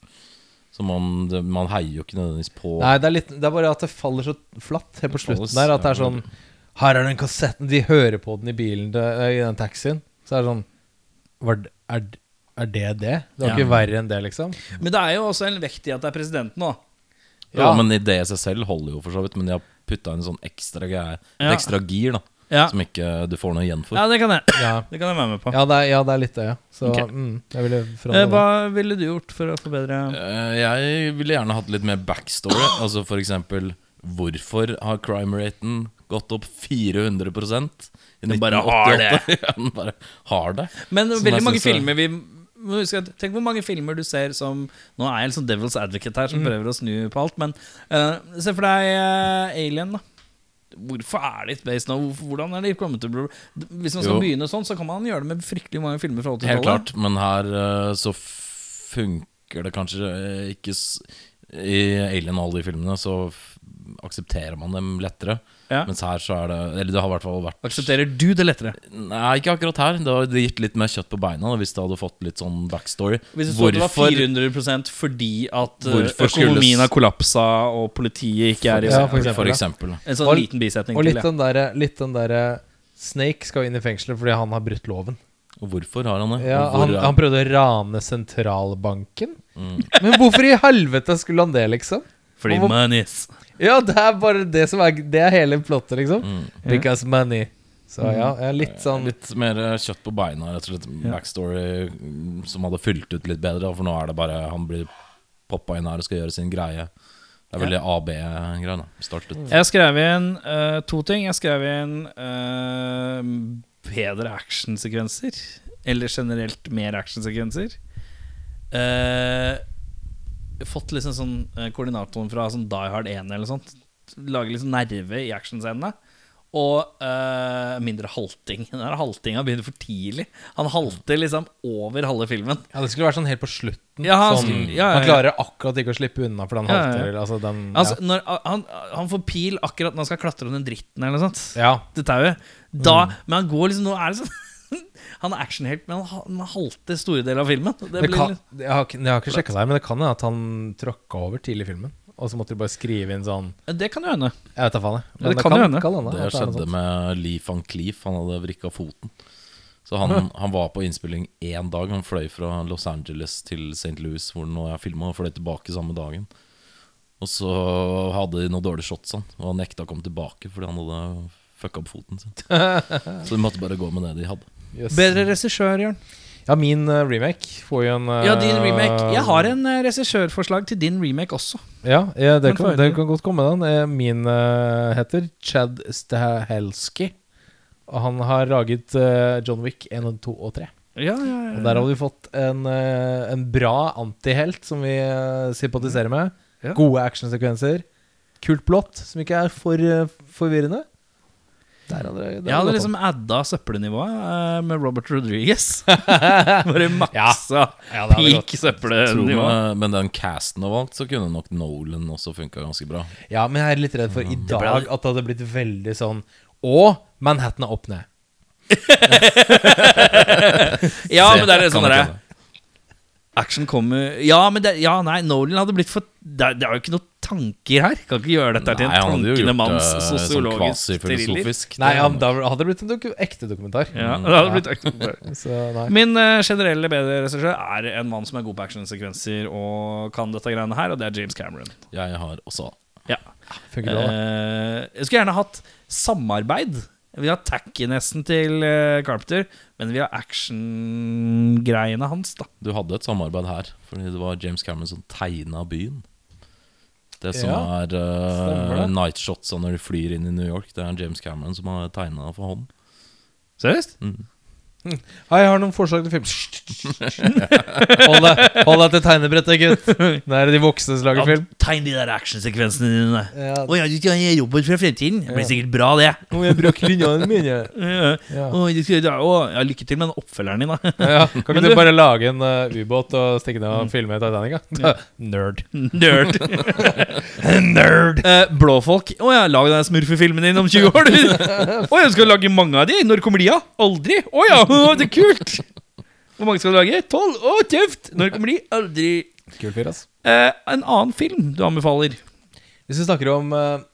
D: Så man, det- man heier jo ikke nødvendigvis på
C: Nei, det er, litt, det er bare at det faller så flatt helt på slutten
D: faller s-
C: der. At det er
D: ja.
C: sånn Her er den kassetten. De hører på den i bilen det- I den taxien. Så er det sånn var, det- er, d- er det det? Det var
A: Ja.
C: ikke verre enn det, liksom?
A: Men det er jo også en vekt i at det er presidenten òg.
D: Ja,
C: Ja.
D: men i det i seg selv holder jo for så vidt, men de har putta inn en sånn ekstra greie,
A: Ja.
D: et ekstra gir, da.
A: Ja.
D: Som ikke du får noe igjen for.
A: ja, det kan jeg
C: Ja,
A: Det kan jeg være med på.
C: ja, det, er, ja det er litt det, ja. Så
A: Ok.
C: mm, jeg ville
A: Eh,
C: forandre
A: Hva
C: det.
A: ville du gjort for å forbedre
D: Eh, Jeg ville gjerne hatt litt mer backstory. Altså for eksempel Hvorfor har crime raten gått opp 400 i
A: Den bare har det.
D: 1988? Ja, Den bare har det.
A: Men
D: Som
A: veldig
D: jeg
A: mange
D: synes er-
A: filmer vi må huske at- Tenk hvor mange filmer du ser som Nå er jeg liksom devil's advocate her,
D: Mm.
A: som prøver å snu på alt, men eh, se for deg eh, Alien, da. Hvorfor er det et base nå? Hvorfor, hvordan er det kommet til å bli Hvis man skal
D: Jo.
A: begynne sånn, så kan man gjøre det med fryktelig mange filmer fra
D: Helt
A: 80-tallet.
D: klart. Men her eh, så funker det kanskje eh, ikke s- I Alien og alle de filmene så f- aksepterer man dem lettere.
A: Ja.
D: Mens her så er det Eller det har i hvert fall vært
A: Aksepterer du det lettere?
D: Nei, ikke akkurat her. Det hadde gitt litt mer kjøtt på beina da, hvis det hadde fått litt sånn backstory.
A: Hvis du så det var 400 fordi at eh,
D: Hvorfor skulle-
A: økonomien har kollapsa og politiet ikke er i
C: Ja, for
D: for eksempel.
C: eksempel,
D: For
C: ja.
D: eksempel.
A: En sånn
C: Og-
A: liten bisetning
C: Og
A: til.
C: litt
A: Ja.
C: den derre der, eh, Snake skal jo inn i fengselet fordi han har brutt loven.
D: Og hvorfor har han det?
C: Ja,
D: Og hvor
C: han,
D: er-
C: han prøvde å rane sentralbanken. Men hvorfor i helvete skulle han det, liksom?
A: Fordi
C: Og hvor-
A: monies.
C: Ja, det er bare det som er Det er hele plottet, liksom. Because money. Så
A: Mm.
C: ja, jeg er litt sånn
D: Litt mer kjøtt på beina, rett og slett. Backstory mm, som hadde fylt ut litt bedre. da, For nå er det bare han blir poppa inn her og skal gjøre sin greie. Det er veldig AB-greia. da, Startet.
A: Jeg skrev inn eh, to ting. Jeg skrev inn eh, bedre actionsekvenser. Eller generelt mer actionsekvenser. Eh, fått liksom sånn eh, koordinatoren fra sånn Die Hard 1 eller sånt. Lage liksom nerve i actionscenene. Og eh, mindre halting. Den der haltinga begynner for tidlig. Han halter liksom over halve filmen.
C: Ja, det skulle vært sånn helt på slutten.
A: Ja, han
C: sånn,
A: skulle- ja, ja, ja.
C: Han klarer akkurat ikke å slippe unna for den
A: Ja, ja, ja.
C: halter. eller, Altså, den, ja.
A: Altså, når, han, han får pil akkurat når han skal klatre under dritten eller noe sånt.
C: ja.
A: til tauet. Da, Men han går liksom Nå er det sånn Han er actionhelt, men han, ha- han halter store deler av filmen. Det
C: Det
A: blir
C: kan,
A: litt-
C: jeg, har, ikke- jeg har ikke sjekka det her, men det kan hende at han tråkka over tidlig i filmen. Og så måtte de bare skrive inn sånn
A: det kan jo hende.
C: Jeg vet da faen, jeg.
A: det kan jo hende.
D: Det skjedde
C: sånn.
D: med Lee van Cleef. Han hadde vrikka foten. Så han, han var på innspilling én dag. Han fløy fra Los Angeles til St. Louis, hvor nå jeg filma, og fløy tilbake samme dagen. Og så hadde de noen dårlige shots, han, og han nekta å komme tilbake fordi han hadde fucka opp foten sin. Så de måtte bare gå med det de hadde.
C: Bedre
A: Bedre regissør, Jørn.
C: Ja, min eh, remake får jo en eh,
A: Ja, din remake. Jeg har en eh, regissørforslag til din remake også.
C: Ja, ja det,
A: Men få
C: kan,
A: høre.
C: det kan godt komme, den. Eh, Min eh, heter Chad Stahelski. Og han har laget eh, John Wick 1, og 2 og 3.
A: Ja, ja,
C: Og der hadde vi fått en, eh, en bra antihelt som vi eh, sympatiserer med.
A: Ja.
C: Gode actionsekvenser. Kult blått, som ikke er for eh, forvirrende. Det Der hadde det- det
A: Jeg hadde
C: gått
A: liksom adda søppelnivået eh, med Robert Rodriguez. Bare maksa
D: Ja, det hadde
A: peak
D: Tror
A: søppelnivå.
D: meg- men den casten og valgt, så kunne nok Nolan også funka ganske bra.
C: an. Ja, men jeg er litt redd for i dag at det hadde blitt veldig sånn Å, Manhattan er opp ned.
A: Ja, men det er litt
D: Kan
A: sånn
D: nok
A: derre
D: hende.
A: Action kommer Ja, men det, ja, nei, Nolan hadde blitt for det, er- det er jo ikke noen tanker her. Kan ikke gjøre dette her til
D: Nei, han
A: en
D: hadde jo
A: tankende
D: gjort
A: manns
D: det sånn
A: sosiologisk thriller.
D: kvasifilosofisk. Det
C: Nei,
D: er
C: ja,
D: nok-
C: men da hadde det blitt en doku ekte dokumentar.
A: Ja,
D: Mm.
A: det hadde blitt action.
C: Så nei.
A: Min eh, generelle bedre regissør er en mann som er god på actionsekvenser og kan dette greiene her, og det er James Cameron.
D: Jeg har også
A: Ja.
C: Funker bra, da.
A: Eh, jeg skulle gjerne hatt samarbeid. Vi har tacky-nesten til eh, Carpenter, men vi har action-greiene hans, da.
D: Du hadde et samarbeid her, fordi det var James Cameron som tegna byen. Det som
C: Ja,
D: er uh,
C: stemmer det.
D: nightshots når de flyr inn i New York, det er James Cameron som har tegna for Mm. hånd.
A: Seriøst?
C: Hei, jeg har noen forslag til film. hold deg hold deg til tegnebrettet, gutt. Nå er det de voksne som lager film.
A: Tegn de der actionsekvensene dine.
C: Ja.
A: Å ja, du skal ha jobben fra fremtiden. Det blir sikkert bra, det.
C: Må jeg bruke linjene mine?
A: Ja.
C: Ja.
A: Å, du skal, å, ja, lykke til med den oppfølgeren din, da.
C: Ja, kan ikke
A: Men
C: du,
A: du-
C: bare lage en eh, ubåt og stikke ned og filme Titanic? Da? Nerd.
A: Nerd. Nerd. Eh, Blåfolk. Å ja, lag den smurfefilmen din om 20 år, du. Å ja, du skal lage mange av de. Når kommer de, da? Aldri. Å ja, å, det er kult. Hvor mange skal du lage? Tolv? Å, tøft. Når kommer de? Aldri.
C: Kul fyr, ass.
A: Eh, en annen film du anbefaler?
C: Hvis vi snakker om eh,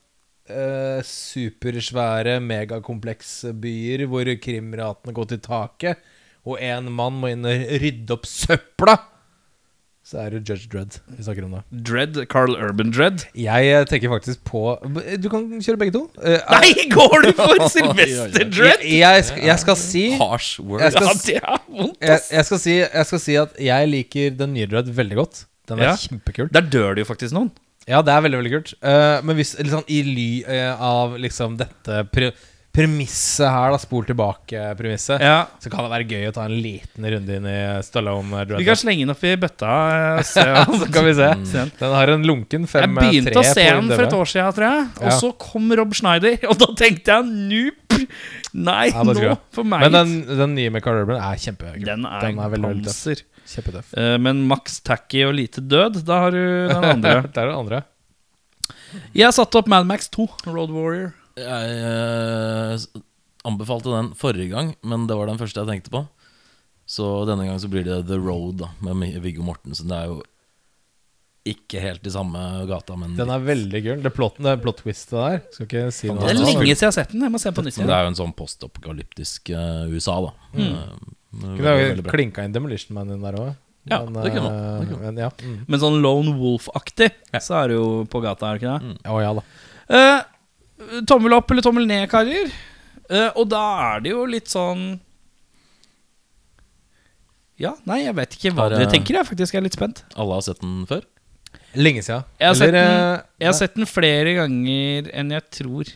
C: eh, supersvære megakompleksbyer hvor krimratene går til taket, og én mann må inn og rydde opp søpla, så er det Judge Dredd vi snakker om da.
A: Dread. Carl Urban Dread.
C: Jeg eh, tenker faktisk på Du kan kjøre begge to. Eh,
A: Nei, går du for Sylvester Dread?
C: Jeg, jeg, sk- jeg skal si
D: Harsh word.
C: Jeg skal,
A: Ja,
C: s-
A: det er vondt.
C: jeg, jeg, skal si, jeg skal si at jeg liker den nye Dredd veldig godt. Den er
A: Ja.
C: kjempekul.
A: Der dør det jo faktisk noen.
C: Ja, det er veldig, veldig kult. Eh, men hvis litt sånn i ly eh, av liksom dette pre premisset her, da, spol tilbake-premisset,
A: Ja.
C: så kan det være gøy å ta en liten runde inn i Stallone eh,
A: Vi kan
C: Dread.
A: slenge den opp i bøtta. eh, og Se om
C: Så kan vi se.
A: se den.
C: Den har en lunken eh, 5-3
A: Jeg begynte å se den for et år siden, tror jeg. Og
C: Ja.
A: så kom Rob Schneider, og da tenkte jeg noop! Nei,
C: Ja, det tror
A: nå
C: jeg.
A: for meg.
C: Men den, den nye med Carl Urban er kjempekul.
A: den er,
C: den er veldig, veldig tøff.
A: panser.
C: Kjempetøff.
A: Eh, men Max Tacky og Lite død, da har du den andre.
C: Der er den andre.
A: Jeg satte opp Mad Max 2, Road Warrior.
D: Jeg eh, s- anbefalte den forrige gang, men det var den første jeg tenkte på. Så denne gangen så blir det The Road da, med Mi- Viggo Mortensen. Det er jo ikke helt i samme gata, men
C: Den er veldig kul. Det plot, det plot twistet der Skal ikke si noe
A: Det er
D: den
C: annet.
D: ligger-
A: lenge siden jeg har sett den. Jeg må se den på nytt
D: Så
A: igjen.
D: det er jo en sånn postapokalyptisk eh, USA, da. Eh,
C: Mm.
D: men
C: Kunne
D: veldig,
C: jeg
D: veldig bra.
C: klinka inn Demolition Man inn der òg.
D: Ja, det kunne man, det kunne
C: Men ja. Mm.
A: Men sånn Lone Wolf-aktig, så er det jo på gata, er det ikke det?
C: Å ja da.
A: Eh, tommel opp eller tommel ned, karer. Eh, og da er det jo litt sånn Ja, nei, jeg vet ikke hva
D: Har,
A: dere
D: eh,
A: tenker. Jeg faktisk er litt spent.
D: Alle har sett den før?
C: Lenge sia.
A: Jeg har sett
C: Eller, eh,
A: Jeg har
C: nei.
A: sett den flere ganger enn jeg tror.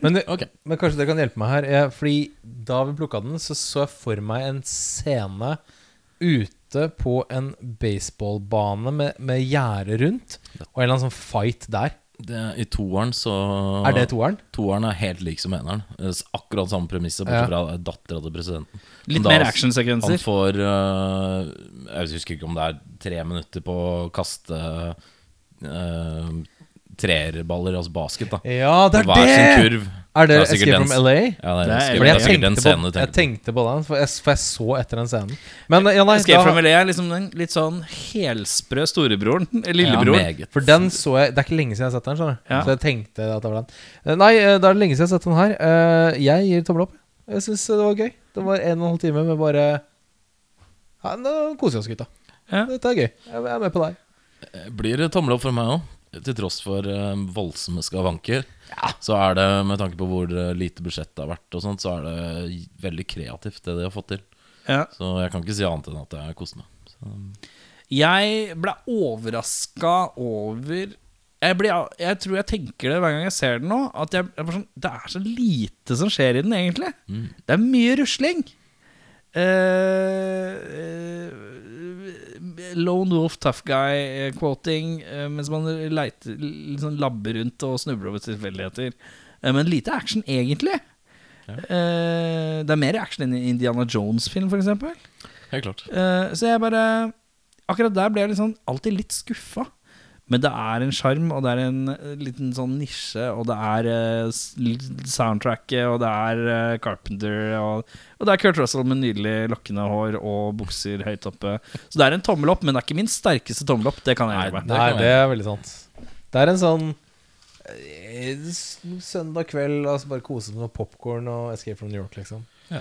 C: Men, men kanskje dere kan hjelpe meg her. eh, Fordi da vi plukka den, så så jeg for meg en scene ute på en baseballbane med, med gjerde rundt, og en eller annen sånn fight der.
D: Det, I toeren så
C: Er det toeren?
D: Toeren er helt lik som eneren. Eh, s- Akkurat samme premisset,
C: Ja.
D: bortsett fra dattera til presidenten.
A: Litt
D: Men
A: mer
D: da- Han
A: actionsekvenser.
D: får eh, Jeg husker ikke om det er tre minutter på å kaste uh, treerballer, altså basket, da.
C: Ja, det er
D: Hver sin
C: det!
D: kurv.
C: Er
D: Det
C: det
D: er sikkert
C: Escape from
D: den-
C: LA?
D: Ja, det er,
A: Det er-
D: sikkert-
C: Fordi jeg
D: det er sikkert
C: tenkte,
D: den
C: på,
D: scenen du
C: jeg
D: tenker på.
C: tenkte på den, for jeg, for jeg så etter den scenen. Men eh, ja, nei,
A: Escape
C: da-
A: from LA er liksom den litt sånn helsprø storebroren. eh, Lillebroren.
D: meget.
C: For den så jeg Det er ikke lenge siden jeg har sett den. skjønner du?
A: Ja.
C: Så jeg tenkte at det var den. Eh, Nei, eh, da er det lenge siden jeg har sett den her. Eh, Jeg gir tommel opp. Jeg syns det var gøy. Det var en og en halv time med bare ja, Nå koser vi oss, gutta.
A: Ja.
C: Dette er gøy. Jeg er med på det her.
D: Det Eh, Blir tommel opp for meg òg. Til tross for eh, voldsomme skavanker, så er det med tanke på hvor eh, lite budsjett det har vært, og sånt, så er det veldig kreativt, det de har fått til.
A: Ja.
D: Så jeg kan ikke si annet enn at jeg koser meg. Så,
A: Jeg ble overraska over jeg, ble, jeg tror jeg tenker det hver gang jeg ser den nå, at jeg, jeg bare sånn, det er så lite som skjer i den, egentlig. Det er mye rusling. Eh, eh, lone Wolf Tough Guy-quoting mens man sånn Eh, leiter, liksom labber rundt og snubler over tilfeldigheter. Eh, men lite action, egentlig. Eh, det er mer action enn i Indiana Jones-film, for eksempel
D: Helt klart.
A: Eh, så jeg bare Akkurat der ble jeg liksom alltid litt skuffa. Men det er en sjarm, og det er en eh, liten sånn nisje, og det er eh, s- l- soundtracket, og det er eh, Carpenter, og, og det er Kurt Russell med nydelig lokkende hår og bukser høyt oppe. Så det er en tommel opp, men det er ikke min sterkeste tommel opp. Det kan jeg gjøre.
C: Nei,
D: kan
C: det er veldig sant. Det er en sånn eh, s- søndag kveld, altså bare kose med noe popkorn og Escape from New York, liksom.
D: Ja.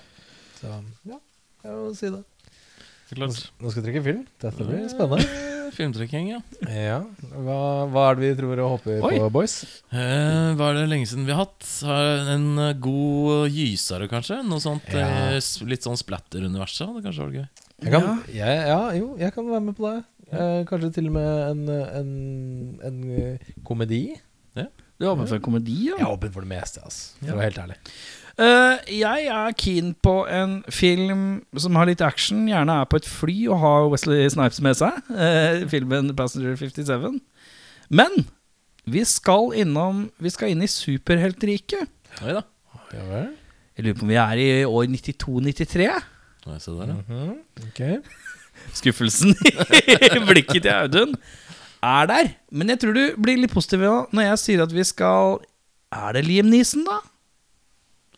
C: Så ja, jeg må si det.
D: Helt
C: Nå,
D: klart.
C: s- nå skal vi trekke film.
A: Ah.
C: Dette blir spennende.
D: Eh, Filmtrekking, ja.
C: Ja, hva, hva er det vi tror og håper
A: Oi.
C: på, boys?
D: Eh, hva er det lenge siden vi har hatt? Har En eh, god gysere, kanskje? Noe sånt
C: Ja.
D: eh, s- Litt sånn splatter-universet hadde kanskje vært gøy.
C: Jeg kan, ja. Jeg, ja, jo, jeg kan være med på det. Eh, kanskje til og med en, en, en eh, komedi.
A: Du er åpen for komedi, ja?
C: Jeg er åpen for det meste, altså. For å være helt ærlig.
A: Eh, jeg er keen på en film som har litt action, gjerne er på et fly og har Wesley Snipes med seg. eh, filmen 'Passenger 57'. Men vi skal innom Vi skal inn i superheltriket.
D: Oi da.
C: Ja vel.
A: Jeg lurer på om vi er i år 92-93?
D: Oi, se der, ja.
C: Ok.
A: Skuffelsen i blikket til Audun er der. Men jeg tror du blir litt positiv nå når jeg sier at vi skal Er det Liam Neeson, da?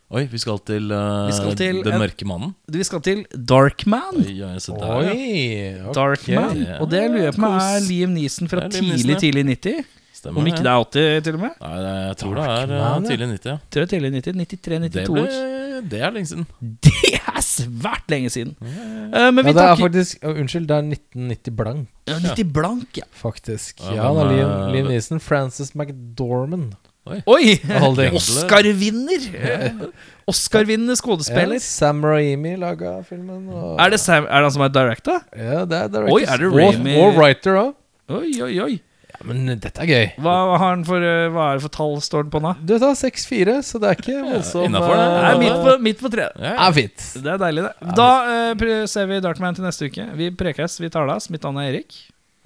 D: Oi, vi skal til, eh,
A: Vi skal til
D: Den
A: en-
D: mørke mannen.
A: Vi skal til Darkman.
D: Oi, oi, se der, ja.
C: Oi! ok.
A: Darkman.
D: Ja.
A: Og det lurer jeg på om er
D: Kos.
A: Liam Neeson fra
D: Det er Liam Neeson,
A: tidlig,
D: ja.
A: tidlig 90.
D: Stemmer
A: Om ikke det er 80, til og med.
D: Nei, det- jeg tror det er eh,
C: Darkman, ja.
D: tidlig 90. Ja.
A: Tror jeg tidlig 90, 93,
D: Det,
A: 92
D: ble,
A: år.
D: det er lenge siden.
A: Det er svært lenge siden! Eh, men
C: Ja,
A: vi
C: det er
A: takker
C: faktisk å, Unnskyld, det er 1990 blank,
A: Ja, 90 blank, ja.
C: faktisk.
D: Ja,
C: Ja, det er
D: men,
C: Liam,
D: eh,
C: Liam Neeson. Frances McDormand.
A: Oi!
C: Holding.
A: Oscar-vinner! Oscar-vinnende skuespiller.
C: Ja, Sam Raimi laga filmen. Og,
A: Er det, Sam, er det han som er directa?
C: ja, det er
A: Oi, er det Raimi-
C: Og, og writer òg.
A: Oi, oi, oi.
C: Ja, men dette er gøy.
A: Hva, har han for, eh, hva er det for tall står det på nå?
C: Du tar 6-4, så det er ikke voldsomt.
D: innenfor det.
A: Det
C: eh,
A: er midt på, midt på treet.
D: Ja, ja.
C: er fint.
A: Det er deilig, det. Da eh, pre- ser vi Dartman til neste uke. Vi prekes, vi talas. Mitt navn er Erik.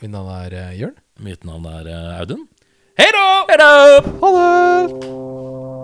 C: Mitt navn er eh, Jørn.
D: Mitt navn er eh, Audun.
A: Hei da!
C: Ha det!